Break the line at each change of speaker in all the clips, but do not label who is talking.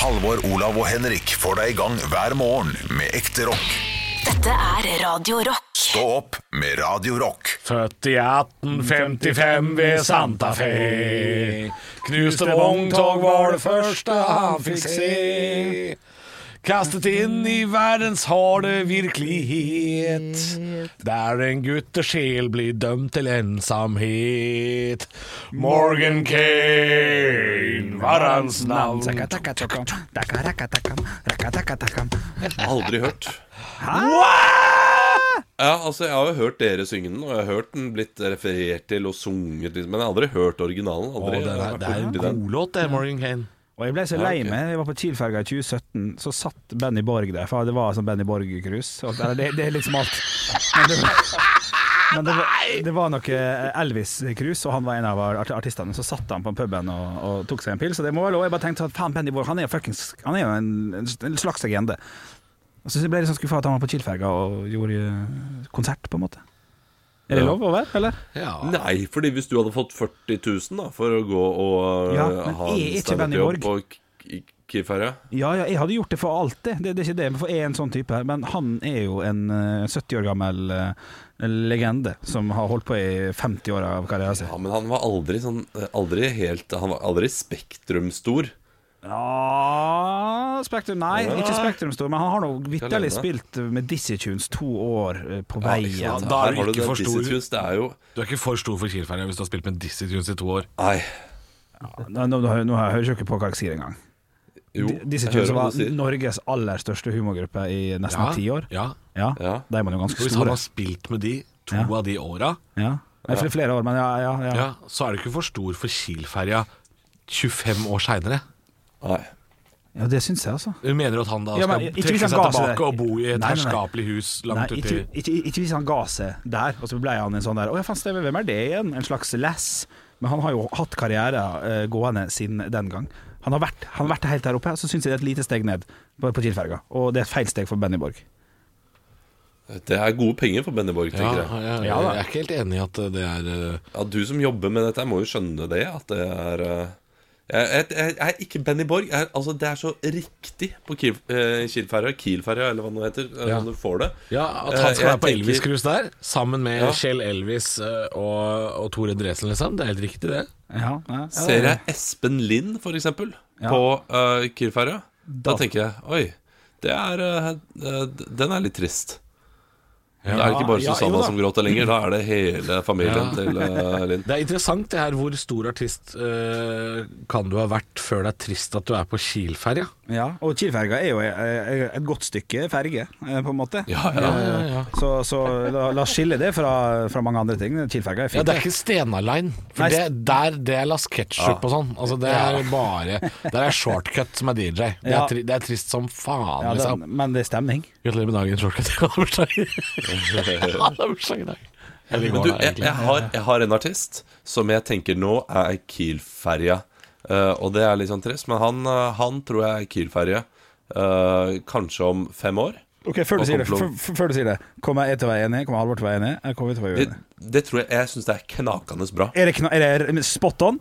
Halvor, Olav og Henrik får deg i gang hver morgen med ekte rock.
Dette er Radio Rock.
Stå opp med Radio Rock.
Født i 1855 ved Santa Fe. Knuste vogntog var det første han fikk se. Kastet inn i verdens harde virkelighet, der en guttesjel blir dømt til ensomhet. Morgan Kane var hans navn.
Aldri hørt. Ja, altså Jeg har jo hørt dere synge den, og jeg har hørt den blitt referert til og sunget, litt, men jeg har aldri hørt originalen.
Å,
Aldri
det er, det er en
vært borti den.
god låt, det, Morgan Kane.
Og jeg ble så lei meg. Jeg var på Kiel-ferga i 2017, så satt Benny Borg der. For det var sånn Benny Borg-cruise. og Det, det er liksom alt. Men det, men det, var, det var noe Elvis-cruise, og han var en av art- artistene. Så satt han på puben og, og tok seg en pils, og det må være lov. Jeg bare tenkte at faen, Benny Borg han er jo, fuckings, han er jo en, en slags legende. Og Så jeg ble litt sånn skuffa at han var på Kiel-ferga og gjorde eh, konsert, på en måte. Er det
Ja.
lov å være, eller?
Nei, fordi hvis du hadde fått 40 000 da, for å gå og øh,
Ja, men
ha
er ikke
en
Benny
standup-jobb på
Borg?
K- i Kielferga
Ja, ja, jeg hadde gjort det for alt, det. Det, det er ikke det, men for jeg er en sånn type. her. Men han er jo en eh, 70 år gammel eh, legende som har holdt på i 50 år av karrieren sin.
Ja, men han var aldri sånn eh, Aldri helt Han var aldri spektrumstor.
Ja Spektrum, Ah, nei, ikke Spektrum stor, men han har nå vitterlig
Kalender.
spilt med Dizzie Tunes to år eh, på veien.
Da er
Her
du
har
ikke
det
for stor.
Dizzy Tunes, Det er jo
Du er ikke for stor for Kielferga hvis du har spilt med Dizzie Tunes i to år.
Nei.
Nå, nå, nå, nå hører jeg ikke på hva jeg sier engang.
Jo,
Di- Dizzie
jeg
Tunes
hører hva
var
du sier.
Norges aller største humorgruppe i nesten ti år.
Ja.
Ja,
Ja.
De var
Så
jo ganske
hvis han
store.
har spilt med de to
Ja.
av de åra,
Ja. Nei, fl- Flere år, men ja, ja. ja.
ja, så er du ikke for stor for Kielferga 25 år seinere.
Nei.
ja det syns jeg, altså.
Du mener at han da
Ja,
skal
men ikke hvis
trekke
han
seg
ga seg
tilbake
der.
og bo i et
Nei, nei, nei.
herskapelig hus langt
Nei,
uti
ikke, ikke, ikke hvis han ga seg der, og så ble han en sånn der Å ja, faen stemme, hvem er det igjen? En slags lass. Men han har jo hatt karriere eh, gående siden den gang. Han har vært, han har vært helt der oppe, så syns jeg det er et lite steg ned på, på Kiel-ferga. Og det er et feil steg for Benny Borg.
Det er gode penger for Benny Borg,
ja,
tenker jeg.
ja, ja,
Ja, da.
Jeg er ikke helt enig i at det er eh,
Ja, du som jobber med dette, må jo skjønne det. At det er eh, Jeg, jeg, jeg jeg er ikke Benny Borg. Jeg, er- altså, det er så riktig på Kiel- eh, Kielferja, Kielferja eller hva det nå heter. eh,
Ja.
Når du får det.
Ja, At
Eh,
han skal være
jeg
på
tenker-
Elvis-cruise der, sammen med
Ja.
Kjell Elvis eh, og, og Tore Dresen, liksom. Det er helt riktig, det.
Ja, ja, ja.
Ser jeg Espen Lind, for eksempel, på uh, Kielferja, da tenker jeg Oi, det er eh, eh, Den er litt trist. det er ikke bare
ja, jo
Susanna
da.
som gråter lenger. Da er det hele familien til eh, Lind.
Det er interessant det her hvor stor artist eh, kan du ha vært før det er trist at du er på Kielferga.
ja. Og Kiel-ferga er jo eh, et godt stykke ferge, eh, på en måte.
Ja, ja.
Så, så la, la oss skille det fra, fra mange andre ting. Kiel-ferga er
Ja,
fint.
det er ikke Stenaline. For
Nei,
det, der det er Las Ketchup og sånn. Altså, det er bare Der er Shortcut som er DJ. Det er,
Ja.
tri, det er trist som faen,
Ja,
liksom.
den- men det er stemning.
Gratulerer med dagen, Shortcut. Jeg hadde bursdag i- Jeg hadde bursdag i dag. Eller i
Men
går,
du,
da,
jeg,
egentlig.
jeg, har, jeg har en artist som jeg tenker nå er Kiel-ferja. Eh, og det er litt sånn trist, men han, eh, han tror jeg er Kiel-ferje. eh, kanskje om fem år.
Ok, Før du
Og
sier det,
komplom.
f- f- før du sier det kommer jeg til å være enig? Kommer Halvor til å være enig? eller Kommer vi til å være
Det,
uenig?
det tror jeg Jeg syns det er knakende bra.
Er det, kna- er det spot on?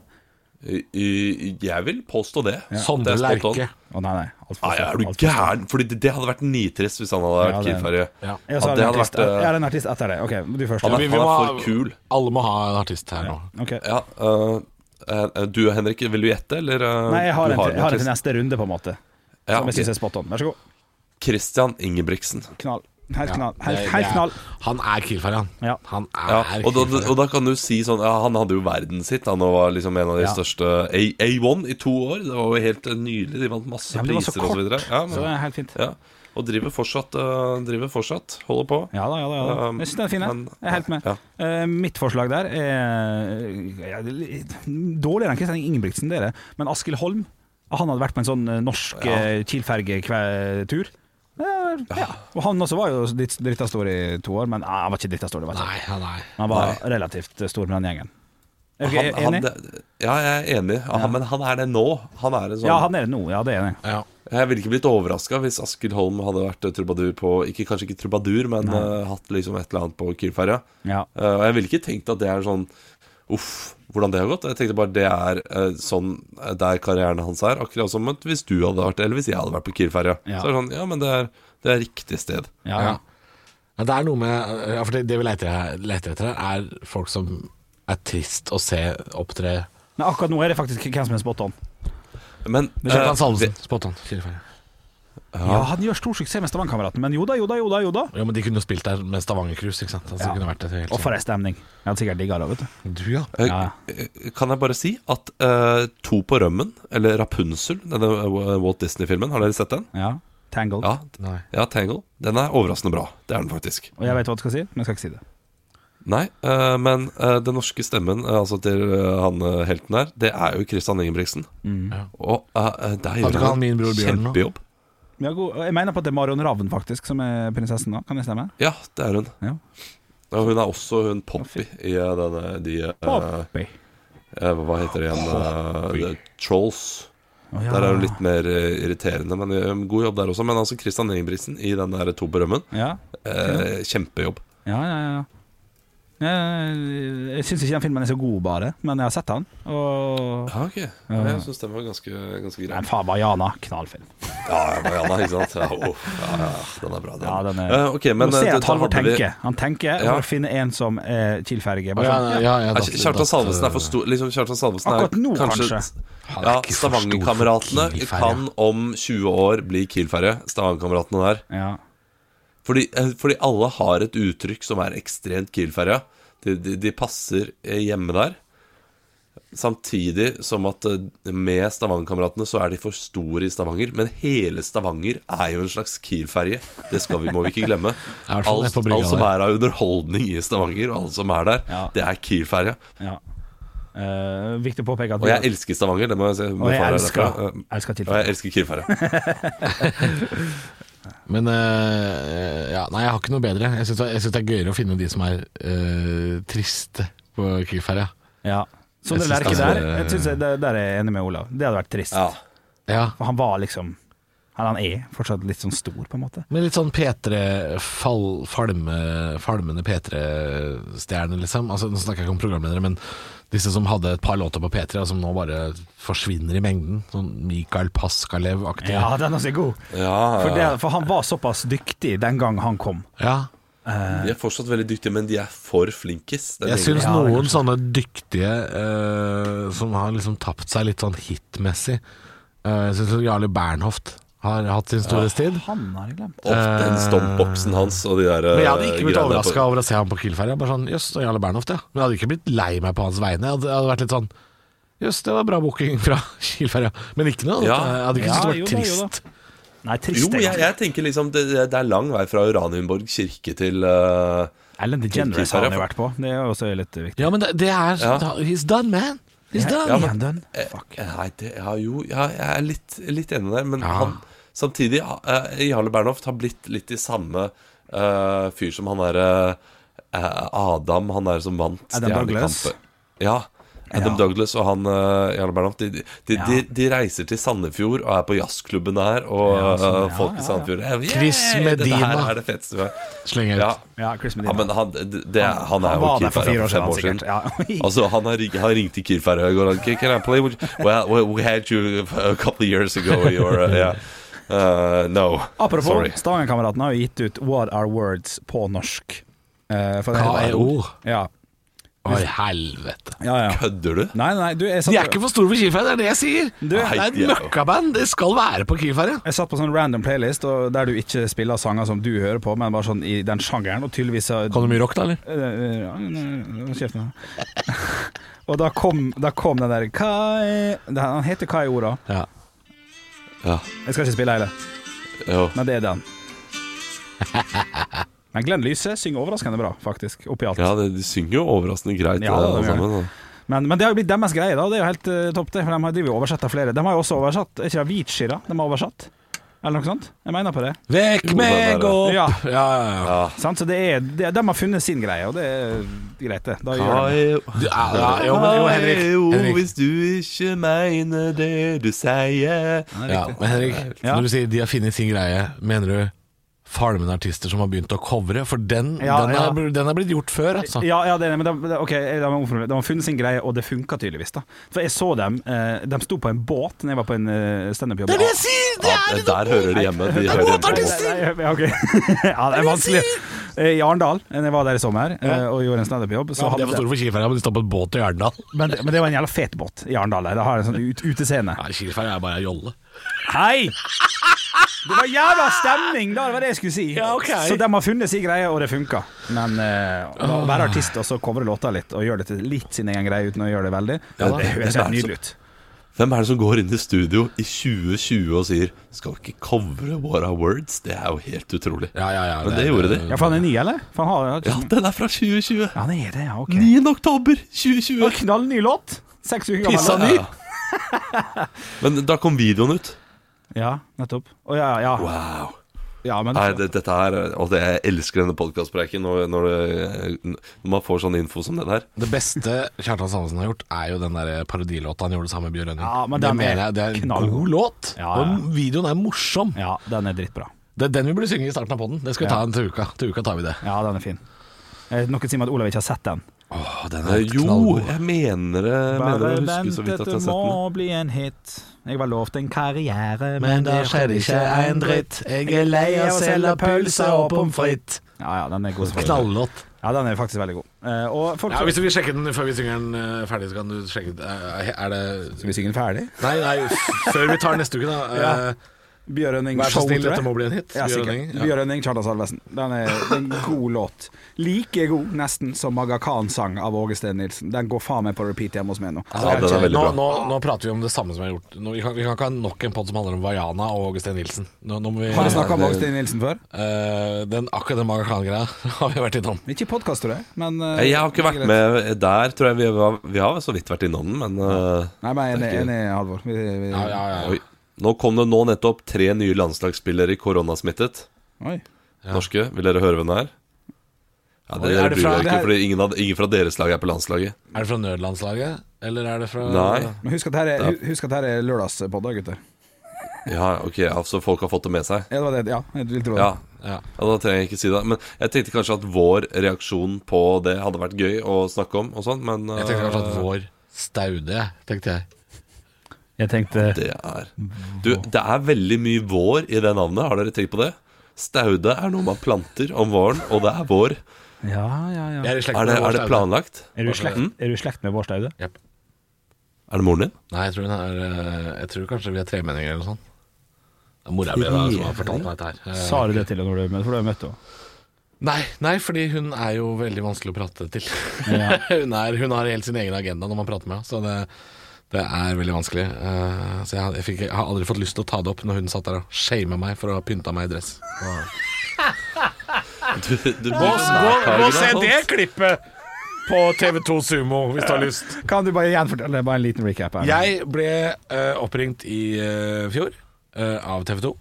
I- i- Jeg vil påstå det.
Sondre
Det er spot on.
Lerche.
Å nei, nei. Alt for
Nei,
sterkt,
Ah, er du
alt for sterkt.
gæren? Fordi det, det hadde vært nitrist hvis han hadde vært
Ja, det-
Kiel-ferje.
Ja.
Ja,
At
så er det
det
en
hadde
artist,
vært, eh,
ja, det er en artist etter det. Ok, du først.
Han
Ja.
er,
vi- vi
han er
må
for
ha-
kul.
Alle må ha en artist her nå.
Ok.
Ja, eh, eh, du Henrik, vil du gjette, eller? eh,
Nei, jeg har,
du
en, til- jeg har en til
artist?
neste runde, på en måte.
Ja,
Som jeg syns
ok.
er spot on. Vær så god.
Christian Ingebrigtsen.
Knall. Helt
Ja.
knall.
Det-
Helt,
det
helt
er-
knall.
Han er Kielferga, han.
Ja.
Han er
Ja, og, da,
Kielferga.
og da kan du si sånn ja, Han hadde jo verden sitt Han var liksom en av de
Ja.
største A, A1 i to år Det var jo helt eh, nydelig De vant masse
Ja, men det var så
priser og så
kort,
videre ja,
Så det
men,
er helt fint.
ja. Og driver fortsatt, eh, driver fortsatt Holder på
Ja da, ja da. Ja, da. Jeg syns den er fin, jeg.
Um, Men-
Jeg er helt med.
Ja.
Eh, mitt forslag der er ja, det er litt Dårligere enn Kristian Ingebrigtsen, dere. Men Askild Holm, han hadde vært på en sånn eh, norsk
Ja.
eh, Kiel-fergetur. Ja, ja. Og han også var jo litt- dritta stor i to år, men ah, han var ikke dritta stor. Det var ikke.
Nei, han er
Han var relativt stor med den gjengen. Er du
han,
ikke
han,
enig?
Ja, jeg er enig Ja, Men han er det nå Han er en sånn
ja, han er det nå. Ja, det er enig.
ja.
Jeg ville ikke blitt overrasket hvis Askild Holm hadde vært eh, trubadur på ikke, Kanskje ikke trubadur, men eh, hatt liksom et eller annet på Kielferja
Ja.
Eh, Og jeg ville ikke tenkt at det er sånn Uff, hvordan det har gått. Jeg tenkte bare det er eh, sånn eh, der karrieren hans er. Akkurat som at hvis du hadde vært eller hvis jeg hadde vært på Kiel-ferja.
Ja.
Så er det sånn, ja, men det er, det er riktig sted.
Ja,
Ja. Ja, det er noe med ja, for det, det vi leter, leter etter, her, er folk som er trist å se opptre
Men akkurat nå er det faktisk hvem som er spot on.
Men eh,
Kjartan
det-
Salvesen. Spot on. Kilefeil.
Ja. han gjør stor suksess med Stavangerkameraten, men jo da, jo da, jo da. jo da
Ja, men de kunne jo spilt der med Stavanger-cruise, ikke sant? Altså,
Ja.
det kunne vært et helt
Og for ei stemning. Jeg hadde sikkert digga det, vet du.
sånn- Du, ja.
eh,
Ja.
eh, Kan jeg bare si at eh, To på rømmen, eller Rapunzel, denne eh, Walt Disney-filmen, har dere sett den?
Ja. Tangled.
Ja,
Nei.
ja Tangle. Den er overraskende bra. Det er den faktisk.
Og jeg vet hva du skal si, men jeg skal ikke si det.
Nei, eh, men eh, den norske stemmen eh, altså til eh, han eh, helten der, det er jo Christian Ingebrigtsen.
Ja.
Og eh, eh, der
Hadde ikke
gjør
han
han
min bror Bjørn nå?
kjempejobb.
Men Jeg, er god- jeg mener på at det er Marion Ravn faktisk som er prinsessen da, kan det stemme?
Ja, det er hun.
Ja.
Og hun er også hun Poppy i eh, denne de, eh,
Poppy.
eh, Hva heter det igjen? eh, the Trolls.
Å, ja.
Der er hun litt mer eh, irriterende, men eh, god jobb der også. Men altså Christian Ingebrigtsen i den der To på rømmen,
Ja,
eh, kjempejobb.
ja, ja. ja. Jeg, jeg syns ikke den filmen er så god, bare, men jeg har sett den. Og
Ja, Ah, ok. Ja, jeg syns den var ganske, ganske grei.
Men faen, Mariana, knallfilm.
Ja, Mariana, ikke sant? Ja, oh, ja, ja, den er bra, den.
Ja, den er
Eh, ok, men
Nå ser
eh,
jeg at
da
Halvor
hadde vi-
tenker. Han tenker
Ja.
for å finne en som er Kiel-ferge.
Å,
Bare
ja,
sånn,
ja, ja,
Ja,
datt-
Kjartan
datt-
Salvesen er for stor liksom, Kjartan Salvesen er
Akkurat nå, kanskje.
Han er
Ja,
ikke for stor for
Stavangerkameratene
Kiel-ferja.
kan om 20 år bli Kiel-ferje. Stavangerkameratene der.
ja.
Fordi, eh, fordi alle har et uttrykk som er ekstremt Kiel-ferja. De, de, de passer eh, hjemme der. Samtidig som at eh, med Stavangerkameratene så er de for store i Stavanger. Men hele Stavanger er jo en slags Kiel-ferje. Det skal vi, må vi ikke glemme.
hvert
Alt,
fall nede på brygga
alt som
der.
er av underholdning i Stavanger, og alt som er der,
Ja.
det er Kiel-ferja.
ja. Eh, viktig å påpeke at
Og jeg elsker Stavanger, det må jeg si.
Og jeg
Far er
elsker,
derfra. Eh,
elsker
Og jeg
Kiel-ferga.
elsker Kiel-ferja.
Men eh, ja, nei, jeg har ikke noe bedre. Jeg syns det, jeg synes det er gøyere å finne de som er eh, triste på Kielferja.
Ja. Sondre
Jeg
Lerche
synes
der,
det er-
jeg synes jeg, der, der er jeg enig med Olav. Det hadde vært trist.
Ja.
Ja.
For han var liksom Han, han er fortsatt litt sånn stor, på en måte.
Med litt sånn P3 fall, falme, Falmende P3-stjerne, liksom. Altså, nå snakker jeg ikke om programledere, men disse som hadde et par låter på P3, og som nå bare forsvinner i mengden. Sånn Mikael Paskalev-aktig.
Ja, den også er god. For, det,
Ja,
for han var såpass dyktig den gang han kom.
Ja.
de er fortsatt veldig dyktige, men de er for flinkis. Det er
Jeg syns
Ja, det er
noen sånne dyktige eh, som har liksom tapt seg litt sånn hitmessig eh, Jeg syns Jarle Bernhoft har hatt sin store tid.
Han har jeg glemt.
Opp den stompboksen hans og de der eh,
Eh, Men jeg hadde ikke blitt
greiene der
overraska over å se ham på Kielferja. Bare sånn, jøss, det er Jarle Bernhoft, ja. Men jeg hadde ikke blitt lei meg på hans vegne. Jeg hadde, jeg hadde vært litt sånn Jøss, det var bra booking fra Kielferja. Men ikke noe.
Ja.
Jeg hadde ikke
Ja,
syntes det
jo
var
da, jo da.
trist.
Nei,
Jo,
trist.
jeg, jeg tenker liksom det, det er lang vei fra Oranienborg kirke til eh,
Ellen DeGeneres har han jo vært på. Det er jo også litt viktig.
Ja, men det, det er
Ja.
He's done, man. He's done.
Ja,
men-
er han dønn?
eh,
Fuck.
Nei, det ja, Jo, ja, jeg er litt, litt enig der, men
Ja.
han samtidig eh, Jarle Bernhoft har blitt litt i samme eh, fyr som han derre Adam, han der som vant
Adam Douglas.
Stjernekampen. Ja. Adam
Ja.
Douglas og han eh, Jarle Bernhoft, de, de, de,
Ja.
de, de reiser til Sandefjord og er på jazzklubben der, og
Ja, sånn,
eh,
ja, ja,
folk i
ja.
Sandefjord eh, yeah,
Chris
Dette her
Medina.
er det feteste vi har.
Slenger
Ja.
ut.
Ja, Chris Medina.
Ja, men han, det, han, er
han
jo
var der for fire år
keeper her for fem
siden,
år siden.
sikkert. Ja.
Altså, han har, ring- han ringte Kielferga i går. Han, Can can I play with you? Well, we- we had you a couple of years ago. You were, uh, yeah. Uh, no.
Apropos,
Sorry.
Stavangerkameraten har jo gitt ut What Are Words på norsk. Eh, for det heter-
KEO.
Ja.
Oi, helvete.
ja, ja.
Kødder du?
Nei, nei, du, jeg satt,
De er ikke for store for Kielferja, det er det jeg sier. det er
Nei,
et
de er-
møkkaband. Det skal være på Kielferja.
Jeg satt på sånn random playlist og der du ikke spiller sanger som du hører på, men bare sånn i den sjangeren, og tydeligvis så-
Kan du mye rock, da, eller?
Eh, eh, ja, nei, hold Kjeften. da. og da kom, da kom den der Kai det- Han heter Kai Ora.
Ja.
Ja.
Jeg skal ikke spille hele,
Jo.
men det er den. Men Glenn Lyse synger overraskende bra, faktisk, oppi alt.
Ja, det, de synger jo overraskende greit,
Ja,
eh,
det
alle
gjør
sammen.
Men, men det har jo blitt deres greie, da. og Det er jo helt eh, topp, det. For de har driver jo og oversett av flere. De har jo også oversatt Er ikke det Avicii, da? De har oversatt? Eller noe sånt? Jeg mener på det.
Vekk
Jo, den
meg
der,
opp!
ja.
ja, ja. ja.
Sant? Så det er, det, de har funnet sin greie, og det er greit, det. Da gjør de det.
Kai,
Ja, ja, jo, men, jo, Henrik, Henrik.
hvis du ikke mener det du sier
Ja, men Henrik
Ja.
Når du sier de har funnet sin greie, mener du falmende artister som har begynt å covre, for den,
Ja,
den,
ja.
Er, bl- den er blitt gjort før, altså.
Ja, ja det er det, men de, ok, de, har omformulert- de har funnet sin greie, og det funka tydeligvis. da For jeg så dem. eh, De sto på en båt Når jeg var på en eh, standup-jobb.
sier!
Ja, der hører de hjemme. De hører hjemme. på-
Nei, nei, ja, ok. ja, det er vanskelig. Eh, I Arendal, eh, når jeg var der i sommer eh, og gjorde en standup-jobb, så
Ja, det
hadde
er for store for Kielferga, men de står på en båt i Arendal.
men, men det var en jævla fet båt i Arendal. der. Det har en sånn ut, utescene.
Nei, Kielferga er bare ei jolle.
Hei! Det var jævla stemning, da, det var det jeg skulle si.
Ja, ok.
Så de har funnet sin greie, og det funka. Men eh, å være artist og så covre låta litt, og gjøre det til litt sin egen greie uten å gjøre det veldig,
Ja,
det høres
det er
helt nydelig ut.
Hvem er det som går inn i studio i 2020 og sier 'skal vi ikke covre What Are Words'? Det er jo helt utrolig.
Ja, ja, ja,
Men det gjorde de.
Ja, for han er ny, eller? For han har
Ja, den er fra 2020.
Ja, han er det, ja, ok.
9. oktober 2020.
Og knallny låt! Seks uker gammel.
Pissa
låt.
ny! Men da kom videoen ut.
Ja, nettopp. Å ja, ja.
Wow.
ja men,
Nei, det, dette her Og det, jeg elsker denne podkastpreiken når, når, det- når man får sånn info som den her.
Det beste Kjartan Sandesen har gjort, er jo den der parodilåta han gjorde sammen med Bjørn Rønning.
Ja, men
det
den er
mener jeg, det er en
knallgod.
god låt,
Ja, ja.
og videoen er morsom.
ja, den er drittbra.
Det er den vi burde synge i starten av poden. Det skal vi ta en til uka. Til uka tar vi det.
Ja, den er fin. Eh, Noen sier meg at Olav ikke har sett den.
Åh, den
Eh, Jo, jeg mener det. Jeg mener å huske så vidt at jeg har sett den.
bli en hit. Jeg var lovt en karriere,
Jeg er lei
av å selge pølser og pommes
frites.
Ja, ja, den er god.
Knallåt.
Ja, den er faktisk veldig god. Eh, og folk
Ja, hvis du vil sjekke den før vi synger den eh, ferdig, så kan du sjekke den. Eh, Er det
Skal vi synge den ferdig?
Nei, nei, f- før vi tar neste uke, da. Eh,
Bjørn Rønning
Vær så
Show,
snill,
tror jeg.
dette må bli en hit.
Ja,
Bjørn
sikkert.
Rønning, ja.
Bjørn Rønning, Kjartan Salvesen. Den er det er en god låt. Like god, nesten, som Maga Khan-sang av Åge Steen Nilsen. Den går faen meg på repeat hjemme hos meg nå.
Altså,
Ja, den er veldig
nå,
bra.
nå, nå prater vi om det samme som jeg har gjort. Nå, vi, kan, vi kan ikke ha nok en pod som handler om Vaiana og Augustin Nilsen. Nå, nå må vi,
Har vi
Eh,
snakka om Åge Steen Nilsen før?
den, akkurat den Maga Khan-greia har vi vært innom.
Ikke i podkast, tror jeg, men eh,
Jeg har ikke vært med der, tror jeg. Vi, var, vi har så vidt vært innom den, men eh,
Nei, men jeg er enig, enig, Halvor. Vi, vi,
Ja, ja, ja.
Oi. Nå kom det nå nettopp tre nye landslagsspillere i koronasmittet.
Oi.
Norske. Vil dere høre hvem det er? Ja,
Oi, er
det, dere
det
bryr
fra-
dere
det
ikke,
er-
for ingen, av- ingen fra deres lag er på landslaget.
Er det fra nødlandslaget, eller er det fra
Nei.
Men husk at her er, hu- husk at her er lørdagspodda, gutter.
Ja, ok, ja, Så folk har fått det med seg?
Ja, det var det. Ja, jeg vil tro det.
Ja.
Ja.
ja, Da trenger jeg ikke si det. Men jeg tenkte kanskje at vår reaksjon på det hadde vært gøy å snakke om, og sånn, men
Jeg tenkte kanskje at vår staude, jeg, tenkte jeg.
Jeg tenkte
Det er Du, det er veldig mye vår i det navnet, har dere tenkt på det? Staude er noe man planter om våren, og det er vår.
Ja, ja, ja.
jeg er, i slekt
Er
med
det,
vår
er det
staude.
planlagt?
Er du i slekt,
Mm?
er du i slekt med Bård Staude?
Jep.
Er det moren din?
Nei, jeg tror, hun er, eh, jeg tror kanskje vi er tremenninger eller noe sånt. Det er mora mi da, som har fortalt meg dette her. Eh,
Sa du det til henne når du, for du har møtt henne?
Nei, nei, fordi hun er jo veldig vanskelig å prate til. hun, er, hun har helt sin egen agenda når man prater med henne, så det, det er veldig vanskelig. Eh, så jeg, har- jeg, fikk, jeg har aldri fått lyst til å ta det opp når hun satt der og shama meg for å ha pynta meg i dress.
Du, du bruker snarkarene, sant?
klippet på TV2 Sumo hvis du har lyst.
Kan du bare gjenfortelle bare en liten recap her?
Jeg ble eh, oppringt i eh, fjor eh, av TV 2,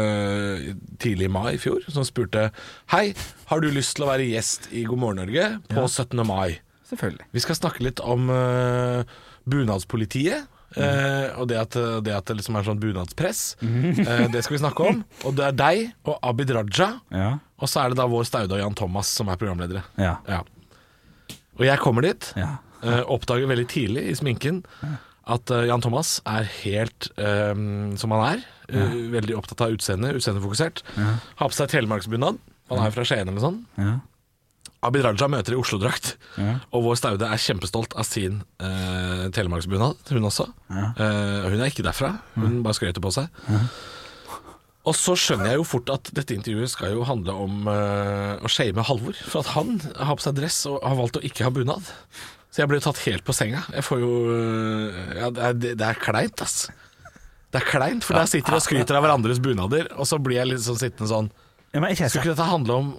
Eh, tidlig i mai i fjor, som spurte Hei, har du lyst til å være gjest i God morgen Norge på 17. mai?
Selvfølgelig.
Vi skal snakke litt om eh, bunadspolitiet. eh, og det at, det at det liksom er sånn bunadspress. eh, det skal vi snakke om. Og det er deg og Abid Raja.
Ja.
Og så er det da vår Staude og Jan Thomas som er programledere.
Ja.
Ja. Og jeg kommer dit.
Ja.
Eh, oppdager veldig tidlig i sminken at eh, Jan Thomas er helt eh, som han er. eh, veldig opptatt av utseende, utseendefokusert. Har på seg telemarksbunad. Han er fra Skien eller noe sånt.
Ja.
Abid Raja møter i Oslo-drakt.
Ja.
Og vår Staude er kjempestolt av sin eh, telemarksbunad, hun også. Eh, hun er ikke derfra, hun bare skrøter på seg. Og så skjønner jeg jo fort at dette intervjuet skal jo handle om eh, å shame Halvor. For at han har på seg dress og har valgt å ikke ha bunad. Så jeg blir jo tatt helt på senga. Jeg får jo eh, ja, det, er, det- det er kleint, ass. Det er kleint, for der sitter de og skryter av hverandres bunader, og så blir jeg litt sånn sittende sånn
Ja, men er ikke
Skulle
jeg sett,
ikke dette handle om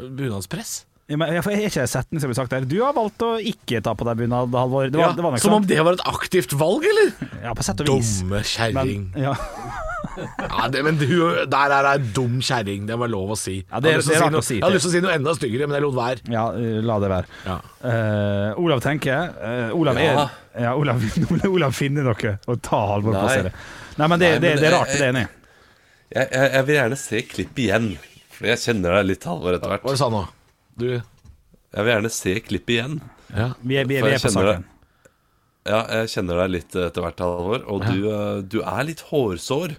øh, bunadspress?
ja, men jeg- for jeg er ikke sett den som blir sagt der. Du har valgt å ikke ta på deg bunad, Halvor. Det var,
Ja,
det var nok
som om
sant.
det var et aktivt valg, eller?
Ja, på sett og vis.
Dumme kjerring.
Men, ja.
Ja, det- men du, der er ei dum kjerring, det var lov å si.
Ja, det
Jeg hadde
er-
lyst
det er
til
rart
noe-
å si
Jeg hadde
til.
lyst til å si noe enda styggere, men jeg lot være.
ja, eh, la det være.
Ja.
Eh, Olav tenker eh, Olav
Ja.
er ja, Olav, Olav finner noe å ta Halvor på
Nei.
seg. Nei, men det,
Nei,
det,
men
det er
jeg-
rart, det er enig.
Jeg, jeg, jeg vil gjerne se klipp igjen. Jeg kjenner deg litt, Halvor, etter
Hva er det
hvert.
du sa nå? Du
Jeg vil gjerne se klippet igjen.
ja.
Vi er, vi er,
For
vi er
jeg
på
kjenner
saken.
det. Ja, jeg kjenner deg litt etter hvert, Halvor. Og du, eh, du er litt hårsår.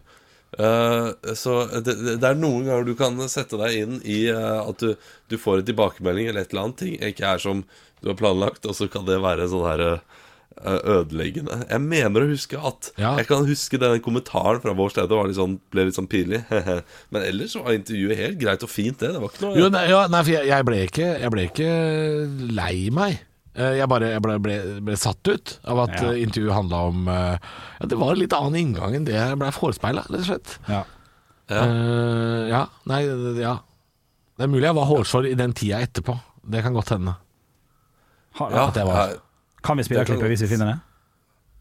Eh, så det, det det er noen ganger du kan sette deg inn i eh, at du, du får en tilbakemelding eller et eller annet ting ikke er som du har planlagt, og så kan det være sånn her eh, ødeleggende. Jeg mener å huske at
Ja.
Jeg kan huske den kommentaren fra vår sted, og var litt sånn, ble litt sånn pinlig. Men ellers var intervjuet helt greit og fint, det. Det var ikke noe
Jo, nei, ja, nei, for jeg, jeg, ble ikke, jeg ble ikke lei meg. Eh, Jeg bare jeg ble, ble, ble satt ut av at
Ja.
eh, intervjuet handla om eh, ja, Det var en litt annen inngang enn det jeg blei forespeila, rett og slett.
Ja.
Ja.
Eh, ja. Nei, ja. Det er mulig jeg var hårsår i den tida etterpå. Det kan godt hende.
Ha,
Ja,
det var-
jeg-
Kan vi spille
Det kan
klippet hvis vi finner det?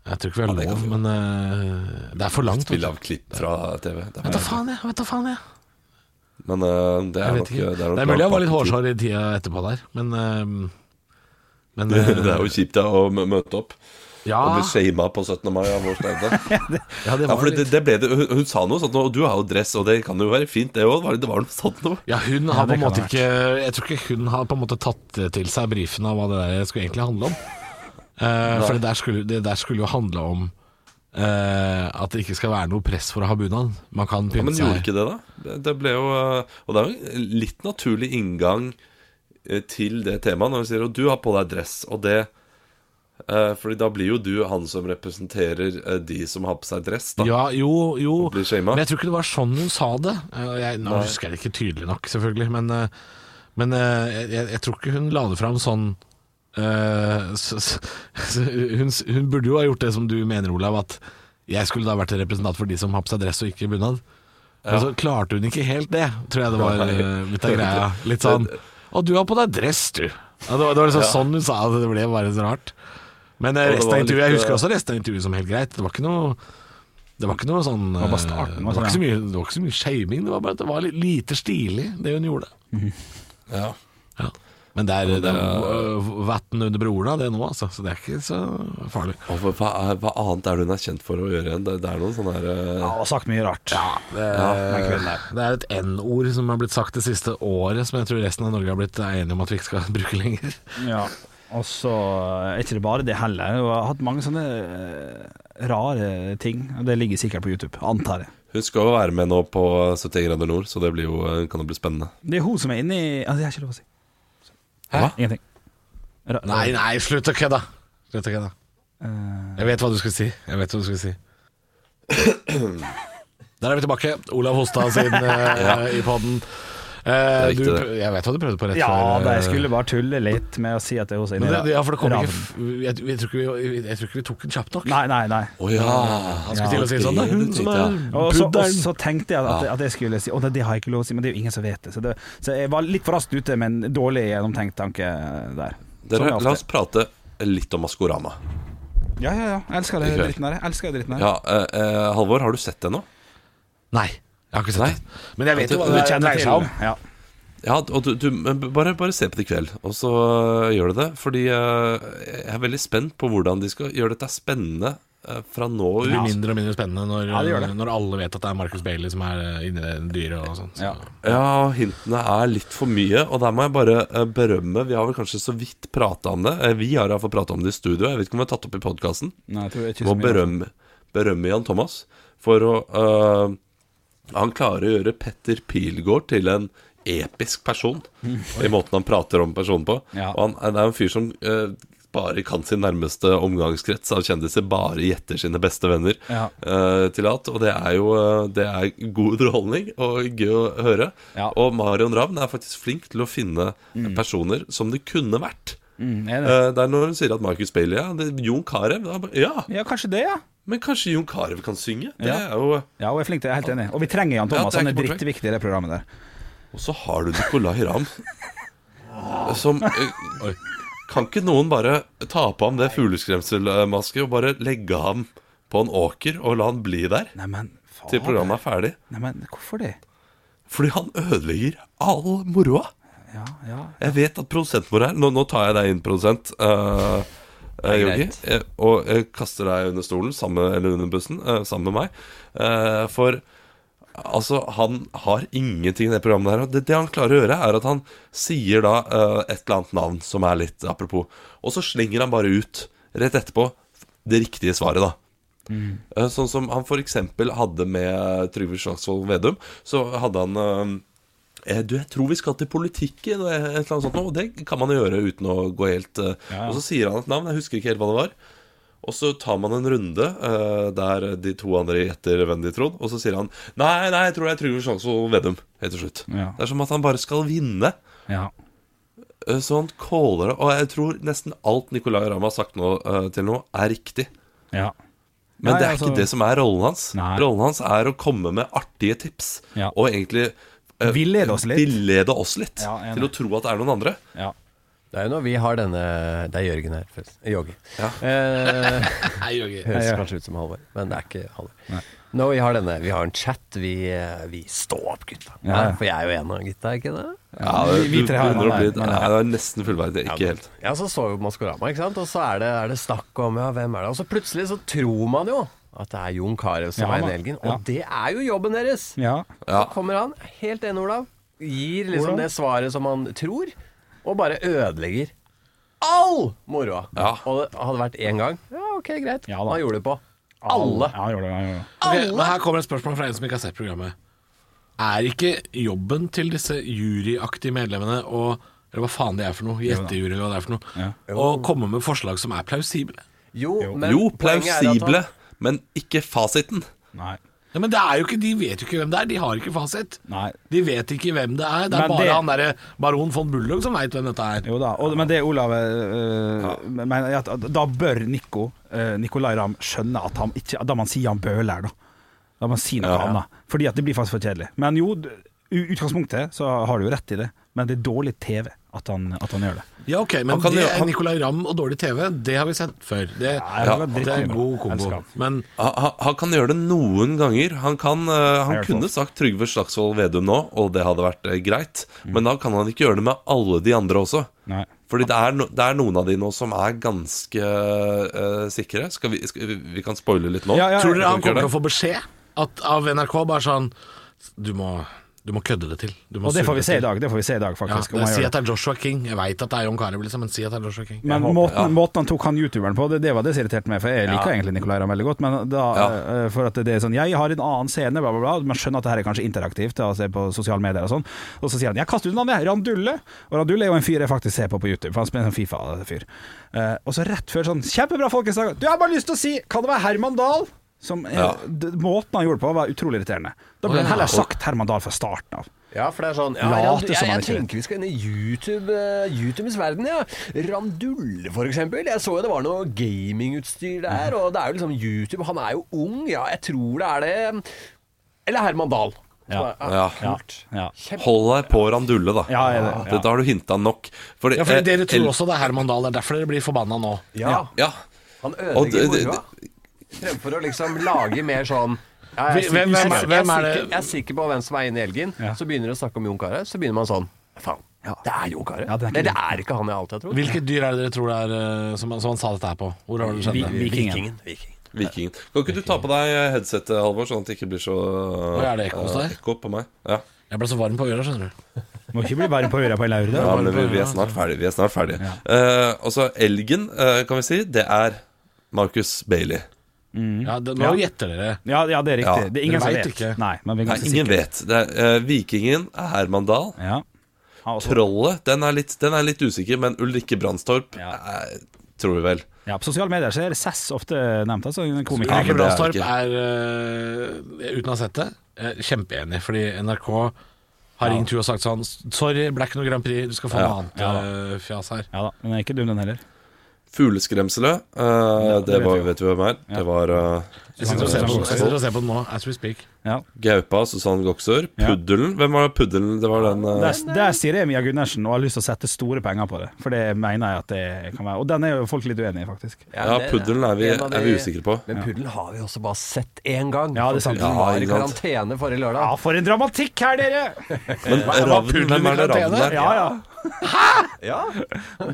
Jeg tror ikke vi har
Ja, det kan
lov,
vi jo.
men eh, det er for langt. Vet
Spill av klipp fra TV. Det er
da faen, jeg. Vet da faen, jeg.
Men eh, det
Jeg
er
vet
nok
ikke.
er nok
Det er mulig jeg var litt
bakparti.
hårsår i tida etterpå der, men eh, Men
Det
eh,
er jo kjipt da, å mø- møte opp
ja,
og bli shama på 17. mai av vår stevne.
ja, Ah. det
Ja,
var
for det,
litt
det ble det, hun, hun sa noe sånt, og du har jo dress, og det kan jo være fint, det òg. Det var noe sånt noe.
Ja, hun har på
det
en
kan
måte
ha vært.
ikke Jeg tror ikke hun har på en måte tatt til seg brifen av hva det der skulle egentlig handle om. Eh, for det der, skulle, det der skulle jo handle om eh, at det ikke skal være noe press for å ha bunad. Man kan
Ja,
pynte
men gjorde
seg.
ikke det, da? Det, det ble jo eh, Og det er jo en litt naturlig inngang eh, til det temaet når hun sier at du har på deg dress, og det eh, Fordi da blir jo du han som representerer eh, de som har på seg dress, da.
Ja, jo, jo.
Og blir shama.
Men jeg tror ikke det var sånn hun sa det. Eh, Jeg, nå husker jeg det ikke tydelig nok, selvfølgelig, men, eh, men eh, jeg, jeg- jeg tror ikke hun la det fram sånn eh, s- s- s- hun, s- hun burde jo ha gjort det som du mener, Olav, at jeg skulle da vært en representant for de som har på seg dress og ikke bunad. Men så klarte hun ikke helt det, tror jeg det var eh, litt av greia. Litt sånn Å, du har på deg dress, du. Ja, det var, det var liksom sånn hun sa det. Det ble bare så rart. Men eh,
det
resten
var
av intervjuet, jeg
litt,
husker
eh,
også resten av intervjuet som helt greit. Det var ikke noe det var ikke noe sånn eh,
var bare starten,
Det
var
var
sånn,
ikke så mye, det var ikke så mye shaming, det var bare at det var litt lite stilig, det hun gjorde.
Ja.
Mhm. Ja. Men det er, det er vann under broren av det nå, altså, så det er ikke så farlig.
Og hva, hva er- hva annet er det hun er kjent for å gjøre igjen? Det, det er noen sånne her eh,
Ja, og sagt mye rart.
Det,
den kvelden
er, det er et N-ord som har blitt sagt det siste året, som jeg tror resten av Norge har blitt enige om at vi ikke skal bruke lenger.
Ja. Og så eh, er ikke det bare det heller. Hun har hatt mange sånne eh, rare ting. Og Det ligger sikkert på YouTube, antar jeg.
Hun skal jo være med nå på 71 grader nord, så det blir jo, eh, kan jo bli spennende.
Det er hun som er inne i altså, Jeg har ikke lov å si.
Hæ?
Ingenting. Ra-
Nei, nei, slutt å kødde! Slutt å kødde.
Eh,
Jeg vet hva du skulle si. Jeg vet hva du skulle si. Der er vi tilbake. Olav hosta sin eh, i poden.
Det er
du,
viktig, det.
prø- jeg vet hva du prøvde på rett
ja,
før.
da,
eh,
jeg skulle bare tulle litt med å si at det er hun som er
men
inne
det,
i
ja, for det kom
Raven.
ikke f- jeg, jeg, tror ikke vi, jeg, jeg tror ikke vi tok den kjapt nok.
Nei, nei, nei.
Å ja.
Han skulle til å si sånn Det er hun som er
Og så, og
pudderen.
så tenkte jeg at, at jeg skulle si Å, nei, det har jeg ikke lov å si, men det er jo ingen som vet det. Så, det, så jeg var litt for raskt ute med en dårlig gjennomtenkt tanke der. Som
Dere,
jeg ofte-
la oss prate litt om Maskorama.
Ja, ja, ja. Jeg elsker det
I kveld.
dritten her. Jeg elsker det dritten her.
Ja, eh, eh, Halvor, har du sett det nå?
Nei, jeg har ikke sett den. Men jeg vet jo hva
Du
det
kjenner
dreier seg om.
Ja.
Ja, og du, du men bare, bare se på det i kveld, og så eh, gjør du det. Fordi eh, jeg er veldig spent på hvordan de skal gjøre dette spennende eh, fra nå
Det
ut.
blir mindre og mindre spennende når,
det gjør det.
når alle vet at det er Marcus Bailey som er eh, inni det dyret og sånn. Så-
Ja.
Ja, hintene er litt for mye, og der må jeg bare eh, berømme. Vi har vel kanskje så vidt prata om det. Eh, Vi har iallfall prata om det i studio. Jeg vet ikke om vi har tatt opp i podkasten.
Nei, jeg tror jeg er ikke
må
så mye.
berømme, berømme Jan Thomas for å øh, Han klarer å gjøre Petter Pilgaard til en episk person i måten han prater om personen på.
Mm. Ja.
Og han det er en fyr som øh, bare kan sin nærmeste omgangskrets av kjendiser, bare gjetter sine beste venner
Ja.
øh, til alt. Og det er jo øh, det er god underholdning og gøy å høre.
Ja.
Og Marion Ravn er faktisk flink til å finne personer som det kunne vært.
Mm, er det?
Eh, det er når hun sier at Marcus Bailey ja, det, Jon Carew da ba- Ja!
Ja, kanskje det, ja.
Men kanskje Jon Carew kan synge? Det
Ja.
er jo
Ja, hun er flink til det, jeg er helt enig. Og vi trenger Jan Thomas,
Ja, det er
han er
ikke borte
drittviktig i det programmet der.
Og så har du Nicolay Ramm. Som eh, oi. Kan ikke noen bare ta på ham det fugleskremselmaske og bare legge ham på en åker og la han bli der
Neimen,
til
faen.
programmet er ferdig?
Neimen, hvorfor det?
Fordi han ødelegger all moroa.
Ja, ja.
Jeg vet at produsenten vår er nå, nå tar jeg deg inn, produsent. eh, eh, Yogi, eh, og eh, kaster deg under stolen, sammen, eller under bussen, eh, sammen med meg. Eh, for Altså, han har ingenting i det programmet der. og Det, det han klarer å gjøre, er at han sier da eh, et eller annet navn som er litt apropos, og så slenger han bare ut, rett etterpå, det riktige svaret, da. Eh, Sånn som han f.eks. hadde med eh, Trygve Slagsvold Vedum, så hadde han eh, eh, du, jeg tror vi skal til politikken, og et eller annet sånt nå. Og det kan man jo gjøre uten å gå helt eh, Og så sier han et navn, jeg husker ikke helt hva det var. Og så tar man en runde eh, der de to andre gjetter hvem de trodde, og så sier han Nei, nei, jeg tror det er Trygve Slagsvold Vedum, helt til slutt.
Ja.
Det er som at han bare skal vinne.
Ja.
Eh, Så han caller det. Og jeg tror nesten alt Nicolay Ramm har sagt nå, eh, til nå, er riktig.
ja.
Men
Nei,
det er
altså-
ikke det som er rollen hans.
Nei.
Rollen hans er å komme med artige tips.
Ja.
Og egentlig eh,
Villede oss litt.
villede oss litt
Ja, enig.
til å tro at det er noen andre.
ja.
Det er jo når vi har denne Det er Jørgen her, forresten. Jogge.
Ja.
Eh,
Nei, Jørgen.
høres
Ja, ja.
kanskje ut som Halvor, men det er ikke Halvor. Når vi har denne Vi har en chat. Vi, eh, vi står opp, gutta.
Ja, ja.
For jeg er jo en av gutta, er ikke det?
Ja,
vi- vi
du
tre har han
begynner å
her,
bli-
men-
Nei, det er nesten fullverdig. Ikke helt.
Ja, så så jo Maskorama, ikke sant. Og så er det, er det snakk om ja, hvem er det Og så plutselig så tror man jo at det er Jon Carew som
Ja,
er
da.
i Elgen. Og
Ja.
det er jo jobben deres!
Ja.
Ja.
Så kommer han, helt enig Olav, gir
Olav?
liksom det svaret som han tror, og bare ødelegger all moroa.
Ja.
Og det hadde vært én gang, ja ok, greit.
Ja da.
han gjorde det på alle.
Ja, han gjorde det, han gjorde det.
Ok, men her kommer et spørsmål fra en som ikke har sett programmet. Er ikke jobben til disse juryaktige medlemmene å eller hva faen det er for noe, gjettejury eller hva det er for noe, å komme med forslag som er plausible?
Jo, men
Jo,
poenget er at han-
plausible, men ikke fasiten.
Nei.
Ja, men det er jo ikke, De vet jo ikke hvem det er, de har ikke fasit.
Nei.
De vet ikke hvem det er. Det er
Men
bare
det-
han derre baron von Bulldog som veit hvem dette er.
Jo da, og, men det Olav øh, mener jeg at da bør Nico, øh, Nicolai Ramm skjønne at han ikke Da må han si Jan Bøhler, da. Da må han si noe
Ja.
annet. Fordi at det blir faktisk for kjedelig. Men jo, d- i utgangspunktet så har du jo rett i det, men det er dårlig TV at han, at han gjør det.
Ja, ok, Men
Han kan
det
gjøre-
er
han-
Nicolay Ramm og dårlig TV, det har vi sett før. Det,
Nei,
Ja,
var
det er en
drittkombo.
god kombo.
Elsker han.
Men
Han, han- han kan gjøre det noen ganger. Han, kan, eh, han
hvert fall.
kunne sagt Trygve Slagsvold Vedum nå, og det hadde vært eh, greit. Men da kan han ikke gjøre det med alle de andre også.
Mm. Nei.
Fordi det er, no, det er noen av de nå som er ganske eh, sikre. Skal vi, skal vi, vi kan spoile litt nå.
Ja, ja,
tror dere han
Kan vi
kommer
ikke
til å få beskjed at, av NRK bare sånn Du må, du må kødde det til. Du må
Og det
surre
får vi se i
til.
dag, det får vi se i dag,
Ja,
faktisk. om
det,
han
si
gjør
at det er Joshua King. Jeg veit at det er John Carew, liksom, men si at det er Joshua King.
Men
håper-
måten,
ja.
måten han tok han youtuberen på, det, det var det som irriterte meg. For jeg liker
Ja.
egentlig Nicolay Ramm veldig godt, men da,
Ja.
eh, for at det er sånn Jeg har en annen scene, bla, bla, bla. Man skjønner at det her er kanskje interaktivt, da, å se på sosiale medier og sånn. Og så sier han 'jeg kaster ut navnet, Randulle'. Og Randulle er jo en fyr jeg faktisk ser på på YouTube, for han spiller en sånn Fifa-fyr. Eh, og så rett før sånn 'kjempebra, folkens', du jeg har bare lyst til å si 'kan det være Herman Dahl'? Som, eh,
Ja.
d- Måten han gjorde det på, var utrolig irriterende. Da
Å,
burde han
ja.
heller sagt Herman Dahl fra starten av.
Ja, for det er sånn ja,
Late
Rand,
som
jeg,
han
jeg
ikke
tenker vi skal inn i YouTube, eh, YouTubes verden, ja. Randulle, for eksempel. Jeg så jo det var noe gamingutstyr der, og det er jo liksom YouTube. Han er jo ung, ja, jeg tror det er det. Eller Herman Dahl.
Ja.
Så,
Ja.
kult.
Ja.
Hold deg på Randulle, da.
Ja, ja, ja.
Dette har du hinta nok. Fordi,
Ja, for
eh,
Dere
El-
tror også det er Herman Dahl. Det er derfor dere blir forbanna nå.
Ja.
Ja.
Han
Og
ødelegger
det- det-
moroa. Fremfor å liksom lage mer sånn ja, jeg,
Hvem-
er sikker-
hvem er-
jeg-
hvem
jeg
er det-
sikker- Jeg er sikker på hvem som er inne i elgen.
Ja.
Så begynner de å snakke om Jon Carew, så begynner man sånn Faen, det er Jon Carew.
Ja, det er ikke
Eller det er ikke han jeg alltid har trodd.
Hvilket dyr er det dere tror det er eh, som, som han sa dette her på? Hvor har dere skjedd det?
Vikingen.
Vikingen.
Vikingen. Kan ikke du ta på deg headsetet, Halvor, sånn at det ikke blir så
Oi, er det ekko hos
eh,
deg?
ekko på meg? Ja.
Jeg ble så varm på øra, skjønner du.
Må ikke bli varm på øra på en laurdag.
ja, men vi, vi er snart ferdig. Vi er snart ferdig. Eh, og så elgen, eh, kan vi si, det er Marcus Bailey.
Mm. Ja, det, nå gjetter dere.
Ja, ja, det er riktig.
Ja,
det er
men
ingen som
vet
vet.
ikke.
Nei, men vi er
Nei,
ganske
ingen
sikre.
vet. Det er, eh, vikingen er Herman Dahl.
Ja. Ja, altså, også-
Trollet, den er litt, den er litt usikker, men Ulrikke Brandstorp
Ja.
eh, tror vi vel.
ja, på sosiale medier så er Sass ofte nevnt, altså. en Komiker.
Ja,
Ulrikke
men det er
Brandstorp
ikke.
er, eh, uten å ha sett det, eh, kjempeenig. Fordi NRK har ringt henne og sagt sånn Sorry, ble ikke noe Grand Prix, du skal få
Ja,
noe annet eh, fjas her.
Ja da, men den er ikke dum, den heller.
Fugleskremselet, eh, det,
vet
var,
vi jo.
vet vi hvem er. Det var eh,
Jeg sitter og ser på den- jeg sitter og ser på den nå, as we speak.
Ja.
Gaupa, Susann Goksør. Puddelen, hvem var det? Puddelen? Det var den eh,
Der, der sier jeg Mia Gundersen og har lyst til å sette store penger på det. For det mener jeg at det kan være. Og den er jo folk litt uenig i, faktisk.
Ja,
det-
puddelen er vi-
en av de-
er vi usikre på.
Men puddelen har vi også bare sett én gang.
Ja, det er sant.
Puddelen
Ja,
var i
ikke sant.
karantene forrige lørdag.
Ja, for en dramatikk her, dere!
Men ravnen,
Puddelen i
hvem er det
karantene?
ravnen er?
Ja ja.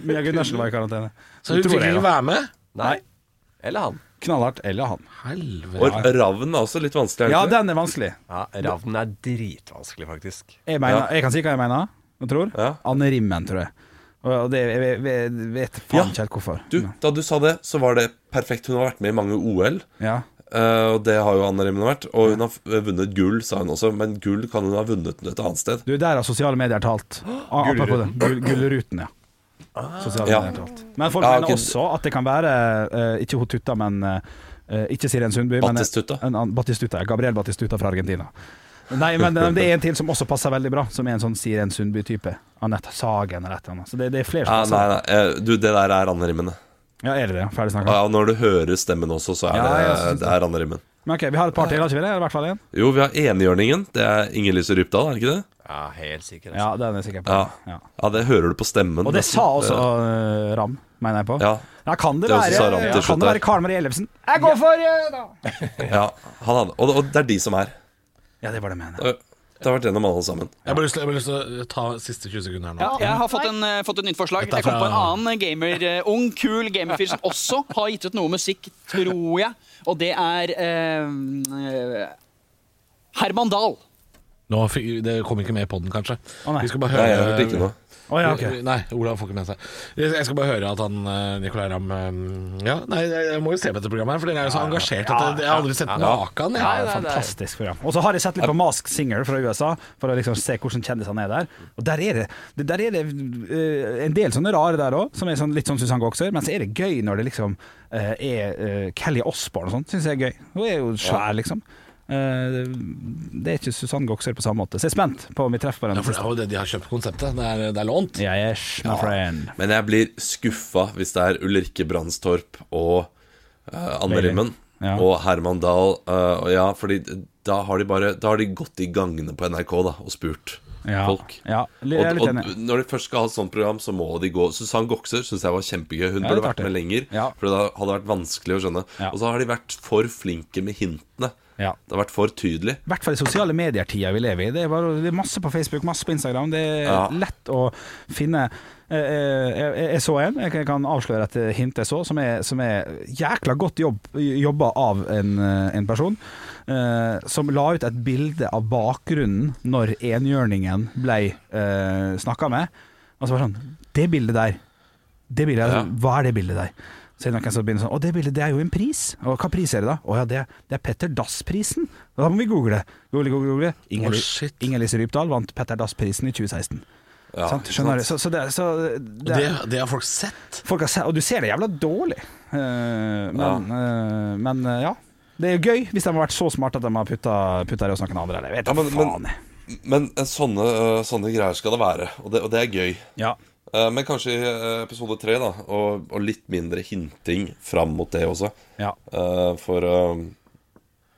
Mia Gundersen var i karantene.
Så hun
Tror
fikk
jeg,
ikke
da.
være med.
Nei. Eller han.
Knallhardt eller han.
Og
Helvete.
ravn er også litt vanskelig. er det
Ja,
ikke det?
den er vanskelig.
Ja, Ravnen er dritvanskelig, faktisk.
Jeg, mener,
Ja.
jeg kan si hva jeg mener og tror.
Ja.
Anne Rimmen, tror jeg. Og og det, jeg, jeg, jeg vet faen
Ja.
ikke helt hvorfor.
Du, da du sa det, så var det perfekt. Hun har vært med i mange OL.
Ja.
eh, og det har jo Anne Rimmen vært. Og hun har f- vunnet gull, sa hun også, men gull kan hun ha vunnet et annet sted.
Du, der har sosiale medier talt. Ah, Apropos det. Gull- Gullruten, ja. Sosiale
Ah. Ja.
medier talt. Men folk
Ja,
mener
ok.
også at det kan være eh, ikke hun Tutta, men eh, ikke Sirén Sundby. men-
Batistuta.
En, annen- Batistuta, ja. Gabriel Batistuta fra Argentina. Nei, men eh, det er en til som også passer veldig bra, som er en sånn Sirén Sundby-type. Anette Sagen eller et eller annet. Så det, det er flere som
Ja,
passer.
nei, nei, eh, du, det der er Anne Rimmen. det.
Ja, er det det? Ferdig snakka.
Ja, og når du hører stemmen også, så er
Ja,
det,
jeg synes
det er Anne Rimmen.
Men ok, vi har et par til, har ikke vi det? Eller I hvert fall én?
Jo, vi har enhjørningen. Det er Inger-Lise Rypdal, er det ikke det?
Ja, helt sikkert.
Ja, den er jeg sikker på.
Ja.
Ja.
Ja, det hører du på stemmen.
Og det sa også
nesten.
eh, Ram, mener jeg på.
Ja.
kan det,
Det er også sa Ram
være,
til
ja,
slutt
kan det
der.
være Karl Marie Ellefsen? Jeg går for eh, da!
Ja, han hadde, og, og det er de som er.
Ja, det var det jeg mente.
Det har- det har vært gjennom alle sammen.
Jeg har bare lyst til- jeg har bare lyst til å eh, ta siste 20 sekunder her nå.
Ja, jeg har fått, en, eh, fått et nytt forslag.
Dette er
Jeg kom på en
fra-
annen gamer, eh, ung, kul gamerfyr som også har gitt ut noe musikk, tror jeg. Og det er eh, eh, Herman Dahl.
Nå fikk, det kom ikke med i poden, kanskje.
Å, nei.
Vi skal bare
Nei,
høre
jeg hørte ikke noe.
Å ja, ok.
Nei, Olav får ikke med seg. Jeg skal bare høre at han eh, Nicolay Ramm eh, Ja, nei, jeg jeg må jo se på dette programmet, her for dere er jo så engasjert at jeg- jeg har aldri sett maken.
Ja,
Jeg.
fantastisk program. Og så har jeg sett litt på Mask Singer fra USA, for å liksom se hvordan kjendisene er der. Og der er det, det- der er det eh, en del sånne rare der òg, som er sånn, litt sånn Susann Goksør. Men så er det gøy når det liksom eh, er eh, Kelly Osbourne og sånt, syns jeg er gøy. Hun er jo svær, liksom. Eh, det er ikke Susann Goksør på samme måte. Så jeg er spent på om vi treffer
Ja,
hverandre.
for det er jo det de har kjøpt konseptet. Det er, det er lånt.
Ja, yes, my friend.
Men jeg blir skuffa hvis det er Ulrikke Brandstorp og eh, Anne
Bailey.
Rimmen
Ja.
og Herman Dahl. eh, og ja, fordi da har, de bare, da har de gått i gangene på NRK da og spurt
Ja,
folk.
ja, jeg er
Og,
litt
og
enig.
når de først skal ha et sånt program, så må de gå. Susann Gokser syns jeg var kjempegøy. Hun
Ja,
burde
litt
vært med lenger,
artig. Ja.
for det hadde vært vanskelig å skjønne.
Ja.
Og så har de vært for flinke med hintene.
Ja.
Det har vært for tydelig.
I hvert fall i sosiale medier-tida vi lever i. Det er, bare, det er masse på Facebook, masse på Instagram. Det er
Ja.
lett å finne eh, eh, jeg, jeg så en, jeg kan avsløre et hint jeg så, som er, som er jækla godt jobb, jobba av en, eh, en person. eh, som la ut et bilde av bakgrunnen når enhjørningen ble uh, snakka med. Og så var det sånn Det bildet der, det bildet,
Ja.
altså, hva er det bildet der? Så er det noen som begynner sånn Å, det bildet det er jo en pris. Og hva pris er det da? Å ja, det, det er Petter Dass-prisen. Da må vi google. Google, google, google. Inger-
Å, shit.
Inger-Lise Rypdal vant Petter Dass-prisen i 2016.
Ja,
Sant?
ikke
Skjønner
sant?
du? Så, så det, så
Og
det
det, det har folk sett.
folk har, se- Og du ser det jævla dårlig. Eh, men,
Ja.
eh, men eh, ja. Det er jo gøy hvis de har vært så smarte at de har putta, putta det hos noen andre. Eller, jeg vet
Ja,
da
men-
faen.
men-
jeg.
Men eh, sånne, eh, sånne greier skal det være, og det, og det er gøy.
Ja.
Eh, Men kanskje i eh, episode tre, da, og, og litt mindre hinting fram mot det også.
Ja.
Eh, For eh,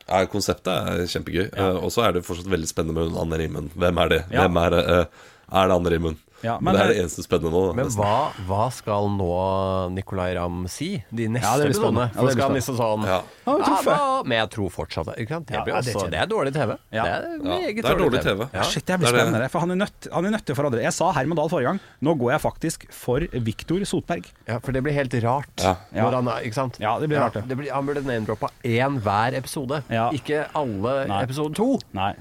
ja, konseptet er kjempegøy. Eh, Og så er det fortsatt veldig spennende med hun Anne Rimmen. Hvem er det?
Ja.
Hvem er, det, eh, er det Anne Rimmen?
Ja,
men,
men-
det er det eneste spennende nå. Da,
Men
nesten.
hva, hva skal nå Nicolay Ramm si de neste
Ja, det blir
episodene?
spennende. Ja,
For
det blir
skal han liksom sånn
Ja.
Ja, vi traff,
da- Men jeg tror fortsatt ikke sant? det.
Ja,
Blir
ja, det
også,
kjenner
det er dårlig TV.
Ja.
Det er
Ja,
meget
det er dårlig TV.
Ja.
Shit, det blir
det er det.
spennende. For han er, nødt, han er nødt til å forandre. Jeg sa Herman Dahl forrige gang. Nå går jeg faktisk for Viktor Sotberg.
Ja, for det blir helt rart.
Ja.
Ja.
Når han er, ikke sant?
Ja, det blir rart, det.
blir, han burde name-droppa én hver episode,
Ja.
ikke alle
Nei.
episode to.
Nei.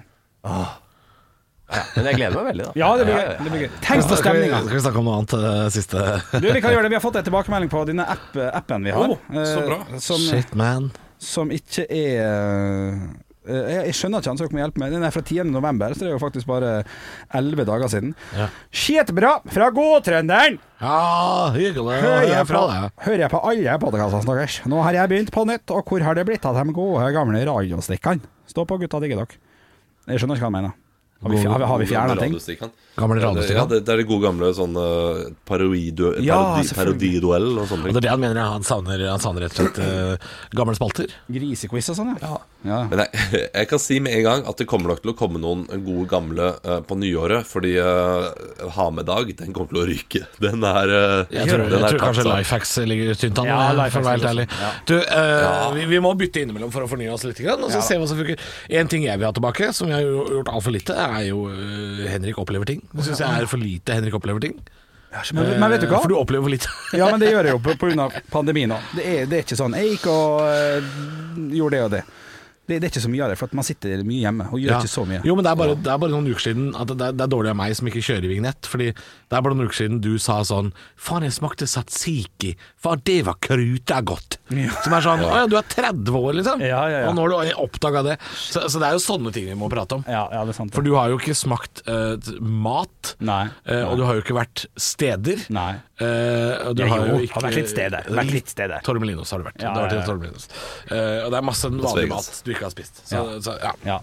Men jeg gleder meg veldig, da.
Ja, det blir, gøy. det blir gøy. Tenk på
Skal vi,
stemninga.
skal vi snakke om noe annet eh, siste
Du, vi kan gjøre det. Vi har fått en tilbakemelding på denne app, appen vi har.
Oh, så bra.
eh, Som,
Shit, man.
som ikke er eh, jeg, jeg skjønner ikke han som dere må hjelpe med. Den er fra 10. november, så det er jo faktisk bare 11 dager siden.
Ja.
Skitbra fra Godtrønderen!
Ja, hyggelig.
Hører jeg, på,
fra deg.
hører jeg på alle podkastene deres. Nå har jeg begynt på nytt, og hvor har det blitt av de gode gamle radiostikkene? Stå på, gutta digger dere. Jeg skjønner ikke hva han mener. Har vi, fjer- har vi, har vi fjerna ting?
Radiostikkene.
Gamle
Ja, det, ja,
radiostykker.
det, det er det gode gamle sånn eh, parodidu,
Ja,
parodi,
selvfølgelig.
parodiduell og sånne
Og det
ting.
er det han mener. Han savner, han savner rett og slett eh, gamle spalter.
Grisequiz og sånn, ja. ja.
Men jeg, jeg kan si med en gang at det kommer nok til å komme noen gode gamle eh, på nyåret, fordi uh, Ha med dag, den kommer til å ryke. Den er eh,
Jeg tror, jeg
den er
tror
tatt
kanskje
seg.
Lifehacks ligger tynt an.
Ja,
for å
Lifehacks
være helt
ligger
ærlig. Du, eh, vi, vi må bytte innimellom for å fornye oss litt. Grann, og så se hva som funker. En ting jeg vil ha tilbake, som jeg har jo gjort altfor lite, er jo eh, Henrik opplever ting. Det syns jeg er for lite Henrik opplever ting.
Men, men vet du hva?
For du opplever litt.
Ja, men det gjør jeg jo på- på grunn av pandemien nå. Det er, det er ikke sånn Jeg gikk og eh, gjorde det og det. det. Det er ikke så mye av det, for at man sitter mye hjemme og gjør
Ja.
ikke så mye.
Jo, men det er, bare, det er bare noen uker siden at det, er, det er dårlig av meg som ikke kjører vignett. Fordi det er bare noen uker siden du sa sånn Faen, jeg smakte satsiki. Faen, det var kruta godt. Som er sånn Å ja, du er 30 år, liksom.
Ja, ja, ja.
Og nå har du oppdaga det. Så, så det er jo sånne ting vi må prate om.
Ja, ja, det er sant.
For du har jo ikke smakt eh, mat,
Nei.
eh, og du har jo ikke vært steder.
Nei.
Eh, og du
Ja,
har
jo,
jo ikke
har vært litt steder. Vært litt steder.
Tormelinos har du vært.
Ja,
du har vært i
ja, ja.
Tormelinos. Eh, og det er masse vanlig
Vegas.
mat du ikke har spist. Så,
Ja.
så ja.
Ja.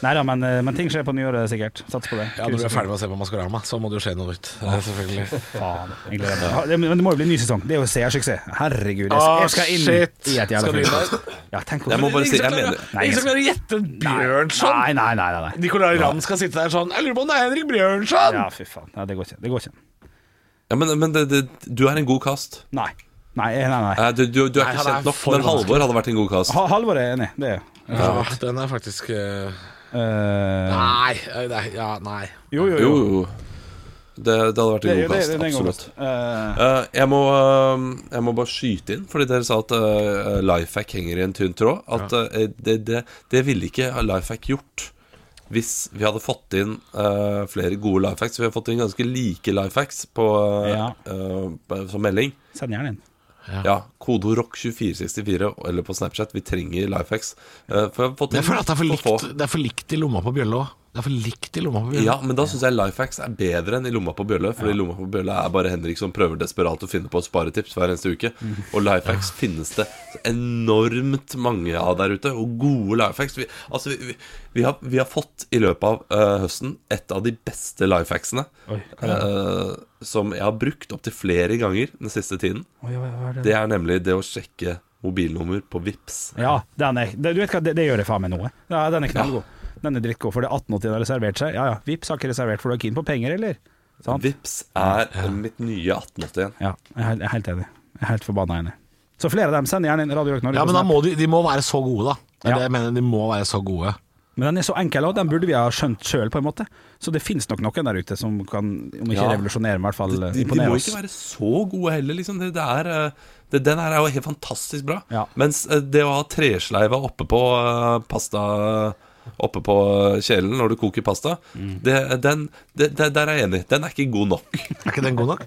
Nei da, men, eh, men ting skjer på nyåret, sikkert. Sats på det.
Ja, når du er ferdig med å se på Maskorama, så må det jo skje noe nytt. selvfølgelig.
Faen, jeg gleder meg. Ha- det- Men det må jo bli en ny sesong. Det er jo seersuksess. Herregud. Jeg,
Å,
jeg skal inn
Ah, shit.
i et jævla
Skal du inn
film. Ja, tenk på
Jeg må bare si Jeg mener
Nei,
Ingen som klarer å gjette Bjørnson!
Nei, nei, nei. nei, nei.
Nicolai Ramm skal sitte der sånn Jeg lurer på om det er Henrik Bjørnson!
Ja, fy faen. Nei, det går ikke. Det går ikke.
ja, Men, men det, det, du er en god cast.
Nei. Nei, eh, nei. nei.
Eh.
Nei, Du, du, du
Nei,
er
han
ikke
er
kjent nok,
for
men Halvor hadde vært en god cast.
Ha- Halvor er enig, det er jo.
Ja, den er faktisk eh,
Eh,
Nei. eh, nei, Ja, nei.
jo, jo,
Jo,
jo.
jo. Det, det hadde vært
Det,
en
det,
god
det,
cast.
det er en god
Absolutt.
låt. Eh,
Eh, jeg, må, eh, jeg må bare skyte inn, fordi dere sa at uh, Life Hack henger i en tynn tråd. At eh, det, det, det ville ikke Life Hack gjort hvis vi hadde fått inn eh, flere gode Life Hacks. Vi har fått inn ganske like Life Hacks på, eh,
Ja.
eh, som melding.
Send gjerne inn.
Ja, Kodeord ROCK2464 eller på Snapchat. Vi trenger Life Hacks. Eh, for jeg har fått
Jeg
inn
føler at det er for
for
likt,
få.
det er for likt i lomma på Bjølle òg. Det er for likt i lomma på Bjølle.
Ja, men da syns jeg Life Hacks er bedre enn i Lomma på Bjølle. Fordi Lomma på Bjølle er bare Henrik som prøver desperat å finne på sparetips hver eneste uke.
Mm.
Og Life Hacks finnes det enormt mange av der ute, og gode Life Hacks. Vi, altså, vi, vi, vi, har, vi har fått i løpet av eh, høsten et av de beste Life Hacksene eh, som jeg har brukt opptil flere ganger den siste tiden.
Oi, oi, hva er det?
Det er nemlig det å sjekke mobilnummer på Vips
Ja, den er, det, du vet hva, det, det gjør jeg faen meg noe. Ja, den er knallgod. Den er drittgod, for det er 1880 har reservert seg. Ja ja, Vipps har ikke reservert, for du er keen på penger, eller? Sant?
Vips er mitt nye 1881.
Ja, jeg er helt- jeg er helt enig. Jeg er helt forbanna enig. Så flere av dem sender gjerne inn Radio Rock Norge.
Ja,
på
men da
Snap.
må de, de må være så gode, da. Det er
Ja.
det jeg mener, de må være så gode.
men den er så enkel, og den burde vi ha skjønt sjøl, på en måte. Så det finnes nok noen der ute som kan, om ikke
Ja.
revolusjonere, men i hvert fall eh,
De, de, de
imponere
må
oss.
ikke være så gode heller, liksom. Det, det er, eh, det, den her er jo helt fantastisk bra.
Ja.
Mens eh, det å ha tresleiva oppe på eh, pasta Oppe på kjelen når du koker pasta,
Mm.
det, den, det, det, der er jeg enig. Den er ikke god nok.
Er ikke den god nok?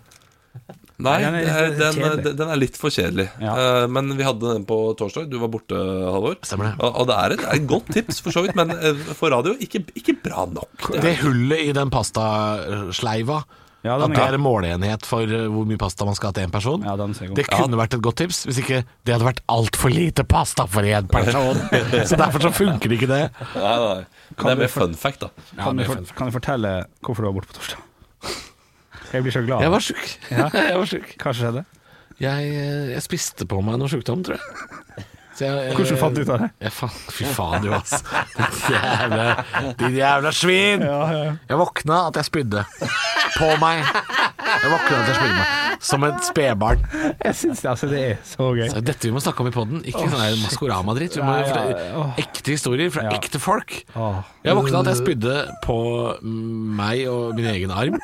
Nei,
den
den
er
er,
litt
den, eh,
kjedelig.
den er litt for kjedelig.
Ja.
Eh, men vi hadde den på torsdag. Du var borte, Halvor.
Stemmer det.
Og, og det er et, det er et godt tips, for så vidt, men eh, for radio ikke, ikke bra nok. Det,
Det hullet i den pastasleiva,
Ja,
at
den er
det
god.
er en måleenhet for eh, hvor mye pasta man skal ha til én person,
Ja, den er god.
det kunne vært et godt tips. Hvis ikke det hadde vært altfor lite pasta for én person. Så derfor så funker ikke det.
nei, nei. Men det er mer fun fact, da.
Kan,
det
du
er
for,
fun.
kan du fortelle hvorfor du var borte på torsdag? Jeg blir så glad.
Jeg var sjuk. Jeg, var sjuk.
Hva skjedde?
Jeg, eh, jeg spiste på meg noe sjukdom, tror jeg. Så jeg, eh,
Hvordan fant du ut av det?
Jeg fan, fy faen, du, ass. Ditt jævla, ditt jævla svin! Jeg våkna at jeg spydde. På meg. Jeg våkna at jeg spydde meg. Som et spedbarn.
Jeg syns altså, det er så gøy.
Så Dette vi må snakke om i poden, ikke sånn der Maskorama-dritt. Vi må
Nei, ja,
fortelle
åh.
ekte historier fra
Ja.
ekte folk.
Åh.
Jeg våkna at jeg spydde på meg og min egen arm.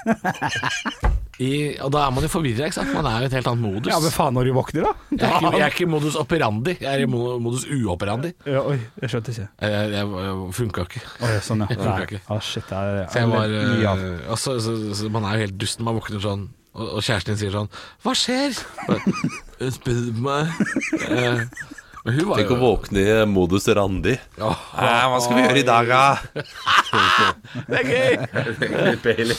I, og da er man jo forvirra, ikke sant. Man er jo i et helt annet modus.
Ja, men faen når du våkner, da?
Jeg er, ikke, jeg er ikke i modus operandi, jeg er i mo- modus uoperandi.
Ja, oi, jeg skjønte ikke.
Jeg, jeg, jeg funka ikke.
Oi, sånn, ja.
funker
Nei.
ikke.
Ah, shit, det er
Så jeg var
mye av.
eh, og så, så, så Man er jo helt dust når man våkner sånn, og, og kjæresten din sier sånn 'Hva skjer?' Hun spydde på meg. Eh, Men hun var
Tenk å
jo
våkne i modus Randi. Eh, hva skal vi gjøre i dag, da?
Det er gøy!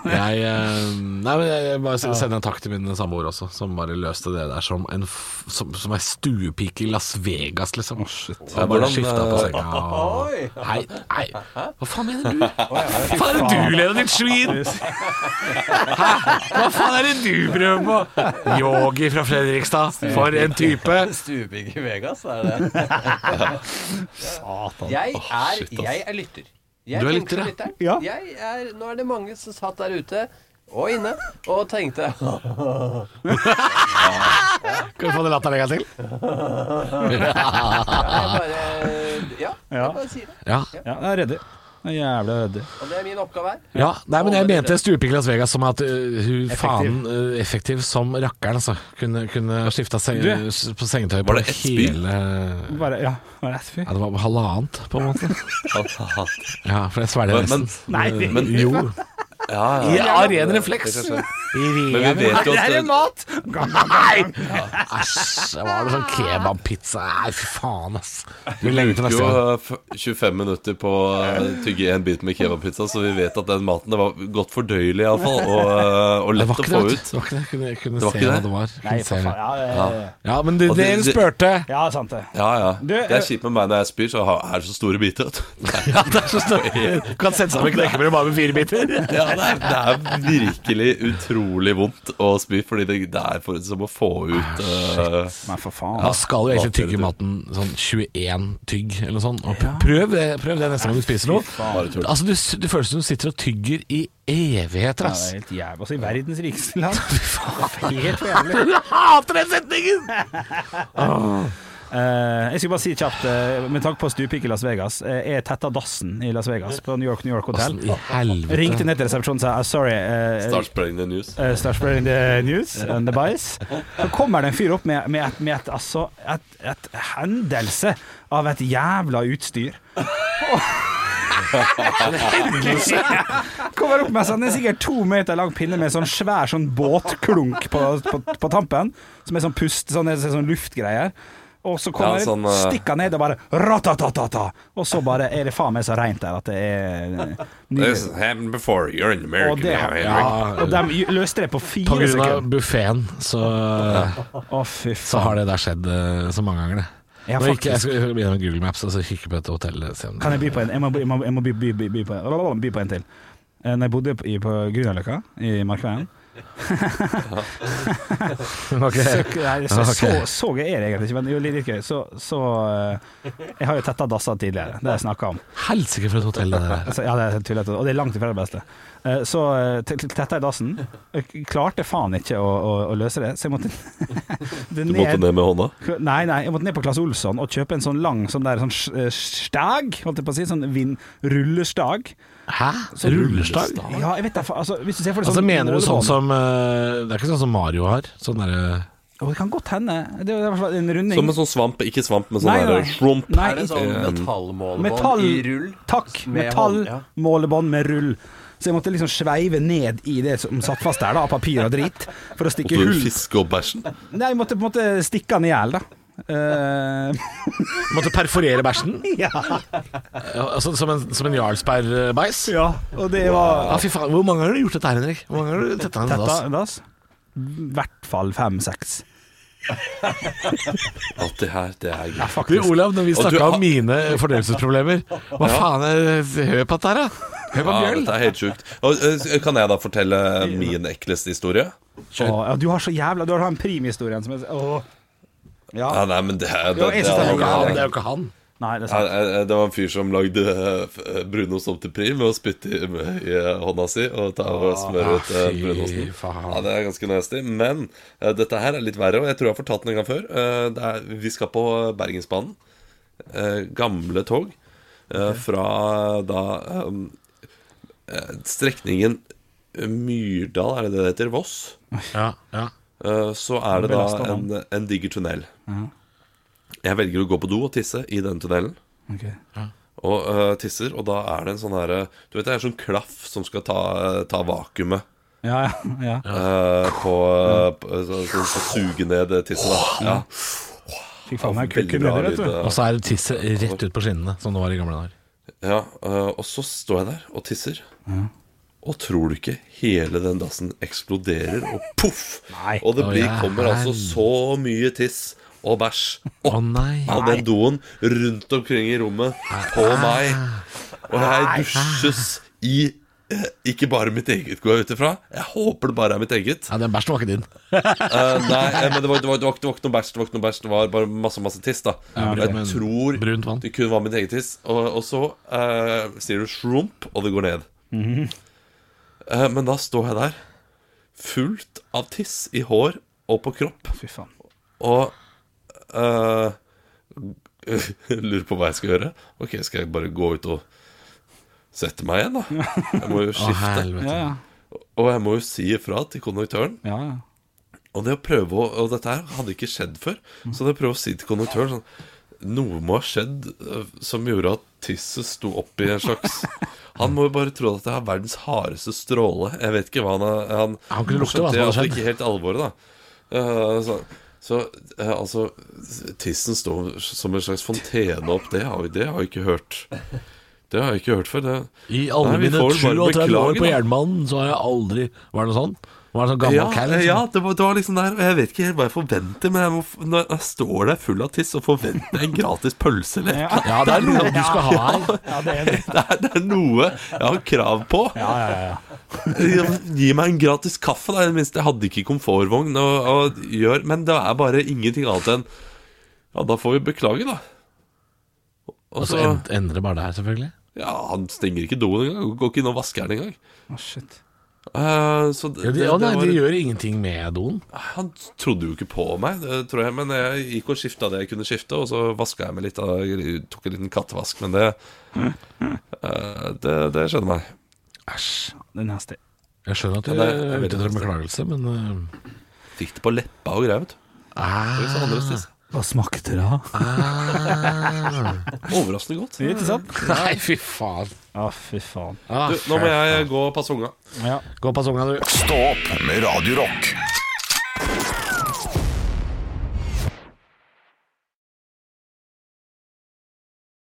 Jeg, eh, nei, men jeg, jeg bare sender en takk til min samboer også, som bare løste det der som en, f- som, som ei stuepike i Las Vegas, liksom.
Ja,
Jeg bare
hvordan,
skifta på
eh,
senga. og- Nei, nei, hva faen mener du? Hva faen er det du leder, ditt svin? Hæ? Hva faen er det du prøver på? Yogi fra Fredrikstad, for en type.
Stuepigg i Vegas, er det det? Jeg er, jeg er lytter. Jeg
Du er
tenkte
lytter, ja.
lytteren.
Ja.
Jeg er, nå er det mange som satt der ute og inne og tenkte
Kan vi få den latteren en gang til?
Jeg bare Ja, jeg bare sier det.
Ja.
Ja, jeg er redd. Det er Jævla øde.
Og det er min oppgave her.
Ja, nei, men jeg mente stuping Las Vegas som at øh, hun faen øh, effektiv som rakkeren, altså. Kunne, kunne skifta seng,
Du-
s- på sengetøy
Var
på
det ett spy?
hele ja,
Bare, ja, bare ett fyr.
Det var halvannet, på en måte. Ja, for jeg svelger
Men,
resten.
Nei,
men
Jo.
ja,
I
ja.
aren refleks.
Men vi vet jo at
mat! Nei!
Æsj, det var noe sånn kebabpizza Nei, fy faen, ass. Du lengter
brukte
neste
jo
gang.
eh, f- 25 minutter på å eh, tygge en bit med kebabpizza, så vi vet at den maten det var godt fordøyelig iallfall, og, eh, og
Det
lett
var
å
ikke
få
det. vet
ut.
du. Det var ikke det. Jeg kunne, jeg kunne
Det var
se
ikke
hva
det.
det var.
Nei,
Kunne se
for faen.
det.
Ja, det-
Ja, men de,
Og det-
dere
det-
spurte.
ja, sant det.
Ja, ja.
Du,
Det
eh,
er kjipt med meg når jeg spyr, så har- er det så store biter. vet du.
Ja, det er så stort. Du kan sette sammen knekkebrød bare med fire biter.
Ja, det er, det er virkelig utrolig vondt å spy, fordi det, det er for, som å få ut eh,
Men for faen.
Man skal jo egentlig tygge
Matføre, du.
maten sånn 21 tygg eller noe sånt. Og pr- prøv, det, prøv det neste gang du spiser noe.
Bare tull.
Altså, du, s- det føles som du sitter og tygger i evigheter,
Ja,
ass.
det er helt jævlig. Altså, i verdens rikeste land. Helt for jævlig.
Jeg hater den setningen!
Eh, jeg skal bare si kjapt, eh, med tanke på stupik i Las Vegas eh, Jeg tetta dassen i Las Vegas, på New York New York Hotel.
I helvete.
Ringte ned til resepsjonen og sa "Ah, sorry. Uh,
Startsprengende news.
Start spreading the eh, news and the bias. Så kommer det en fyr opp med, med, et, med et, altså, et, et hendelse av et jævla utstyr. Kommer opp med sånn, en sikkert to meter lang pinne med sånn svær sånn båtklunk på, på, på tampen. Som er sånn pust, sånn, sånn, sånn luftgreier. Og så kommer
Ja, sånn,
det,
eh,
stikker ned og bare ratatatata. Og så bare er det faen meg så reint der at det er eh,
This
nydelig.
happened before. You're an
Og,
American.
det,
now, Henry.
ja, og de løste det på
På
fire
grunn
sekunder.
av buffeen så,
Å, fy faen.
så har det der skjedd eh, så mange ganger, det.
Ja,
Nå gikk, jeg- jeg
faktisk.
skal begynne med Google Maps og så kikke på et hotell. og se om det-
Kan jeg by på en? Jeg må, jeg må, jeg må by, by, by, by, på en, by på en til. Eh, Når jeg bodde på- i, på Grünerløkka, i Markveien
Ok.
så, nei, så,
Ah, Ok.
så, så gøy er det egentlig ikke, men det er jo litt, litt gøy. Så, så eh, Jeg har jo tetta dasser tidligere, det har jeg snakka om.
Helsike for et hotell det der.
Altså, ja, det er helt tullete, og det er langt ifra det beste. Eh, Så eh, t- t- tetta jeg dassen. Jeg Klarte faen ikke å, å, å løse det, så jeg måtte det
Du måtte ned med hånda?
Nei, nei, jeg måtte ned på Claes Olsson og kjøpe en sånn lang sånn der sånn s- eh, stag, holdt jeg på å si. Sånn vind, rullestag.
Hæ? Rullestag?
Ja, jeg vet da fa- altså, Hvis du ser for deg
Altså
sånn
Mener du sånn
målebånd-
som eh, Det er ikke sånn som Mario har? Sånn derre
Å, Det kan godt hende. Det er i hvert fall en runding.
Som en sånn svamp, ikke svamp, men sånn
Nei,
der
nei.
slump.
Nei,
Er det sånn
Eh,
metallmålebånd
metall,
i rull?
Takk.
Med hånd, ja.
Metallmålebånd med rull. Så jeg måtte liksom sveive ned i det som satt fast der, da, av papir og drit, for å stikke
Måtte du
hull
fiske opp bæsjen?
Nei, jeg måtte på en måte stikke den i hjel, da. Eh,
Måtte perforere bæsjen?
ja.
Ja, altså, som en, som en Jarlsberg-beis?
ja. Og det var
Ja, fy faen, Hvor mange har du gjort dette her, Henrik? Hvor mange har du tetta en
Tetta
dass?
dass. I hvert fall fem-seks.
At det her, det er
Ja,
greit.
Du,
faktisk.
Olav, når vi
Og du
snakka
har-
om mine fordøyelsesproblemer Hva faen er Hør på dette her, da! Hør på
Ja,
Bjørn!
dette er helt sjukt. Og, eh, Kan jeg da fortelle min ekleste historie?
Å, ja, du har så jævla Du har den primhistorien som er Åh. Ja.
Ja, nei, men det, er-
Jo, jeg
det, det,
synes
er
det er
noe
Ja,
jævlig
annet.
men det er jo ikke han.
Nei, det er
Ja,
sant.
eh, Det var en fyr som lagde eh, f- eh, brunost om til prim ved å spytte i, i eh, hånda si og ta og smøre ut eh,
fy
brunosten.
faen.
Ja, det er ganske nasty. Men eh, dette her er litt verre, og jeg tror jeg har fortalt den en gang før. Eh, det er, vi skal på Bergensbanen. Eh, gamle tog. eh, Fra da um, eh, strekningen Myrdal, er det det det heter? Voss.
Ja, ja.
Eh, så er det da
Belastet
en,
vann.
en diger tunnel. Jeg velger å gå på do og tisse i den tunnelen.
Ok.
Og eh, tisser, og da er det en sånn herre Du vet det er en sånn klaff som skal ta, eh, ta vakuumet
Ja, ja, ja.
eh, på, på så, så, så suge ned eh, tisset, da. Ja,
Fikk faen meg
veldig
kukken
bra
nedi,
lyd.
vet du.
Og
eh.
så er det tisset rett ut på skinnene, som det var i gamle dager.
Ja, eh, og så står jeg der og tisser. Og tror du ikke hele den dassen eksploderer, og poff!
Nei.
Og det
Å,
blir,
ja,
kommer altså
hei.
så mye tiss og bæsj
Å nei! Ah.
av den doen rundt omkring i rommet på meg. Og jeg dusjes i eh, ikke bare mitt eget, går jeg ut ifra. Jeg håper det bare er mitt eget.
Ja, Den bæsjen var ikke din.
Eh, nei, eh, men det var, det, var, det, var, ikke- det var ikke noe bæsj, det var ikke noe bæsj, det var bare masse, masse tiss, da.
Ja,
Og jeg
men-
tror
brunt vann.
det kun var mitt eget tiss. Og, og så eh, sier du 'shrump', og det går ned. Eh, men da står jeg der, fullt av tiss i hår og på kropp.
Fy faen.
Og øh, lurer på hva jeg skal gjøre. Ok, skal jeg bare gå ut og Sette meg igjen, da. Jeg må jo skifte.
Ja, ja.
Og jeg må jo si ifra til konduktøren.
Ja, ja.
Og det å prøve å Og dette her hadde ikke skjedd før.
Mm.
Så det å prøve å si til konduktøren sånn Noe må ha skjedd øh, som gjorde at tisset sto opp i en slags Han må jo bare tro at jeg har verdens hardeste stråle. Jeg vet ikke hva han har Han,
Han kunne lukte hva som
skjønte
hadde
iallfall
skjedd.
ikke helt alvoret, da. Eh, så så eh, altså Tissen står som en slags fontene opp. Det har, vi- det har jeg ikke hørt. Det har jeg ikke hørt før. Det.
I alle
Nei, vi
mine
får bare
37 år
beklage,
på
da.
Jernbanen så har jeg aldri Var det noe sånn? Var det sånn gammel
Ja,
kall? liksom?
ja det, var, det var liksom der og Jeg vet ikke helt hva jeg forventer, men jeg må, f- når jeg står der full av tiss, så forventer jeg en gratis pølse eller et eller
ja, det er noe du skal ha her.
annet. det, er- det er noe jeg har krav på. Gi meg en gratis kaffe, da. I det minste. Jeg hadde ikke komfortvogn og, og gjør Men det er bare ingenting annet enn Ja, da får vi beklage, da. Og
Og så
så
end- endrer det bare der, selvfølgelig.
Ja, han stenger ikke doen engang. Går ikke inn og vasker den engang.
Å, shit.
Uh, så det,
Ja, de,
det-
å
det
nei,
var-
de gjør ingenting med doen.
Han trodde jo ikke på meg, det tror jeg, men jeg gikk og skifta det jeg kunne skifte, og så vaska jeg meg litt. av- Jeg tok en liten kattevask, men det eh, Det, det skjedde meg.
Æsj. Det er nasty.
Jeg skjønner at du
Ja, det er-
er ute etter en beklagelse, men øh,
Fikk det på leppa og greier, vet du. Det er
ah,
så andres tiss.
Hva smakte det, da?
Overraskende godt.
Ikke sant?
Nei, fy faen.
Å, fy faen.
Ah,
Du, nå må jeg gå og passe unga.
Ja.
Gå og pass unga, du.
Stå opp med Radio Rock.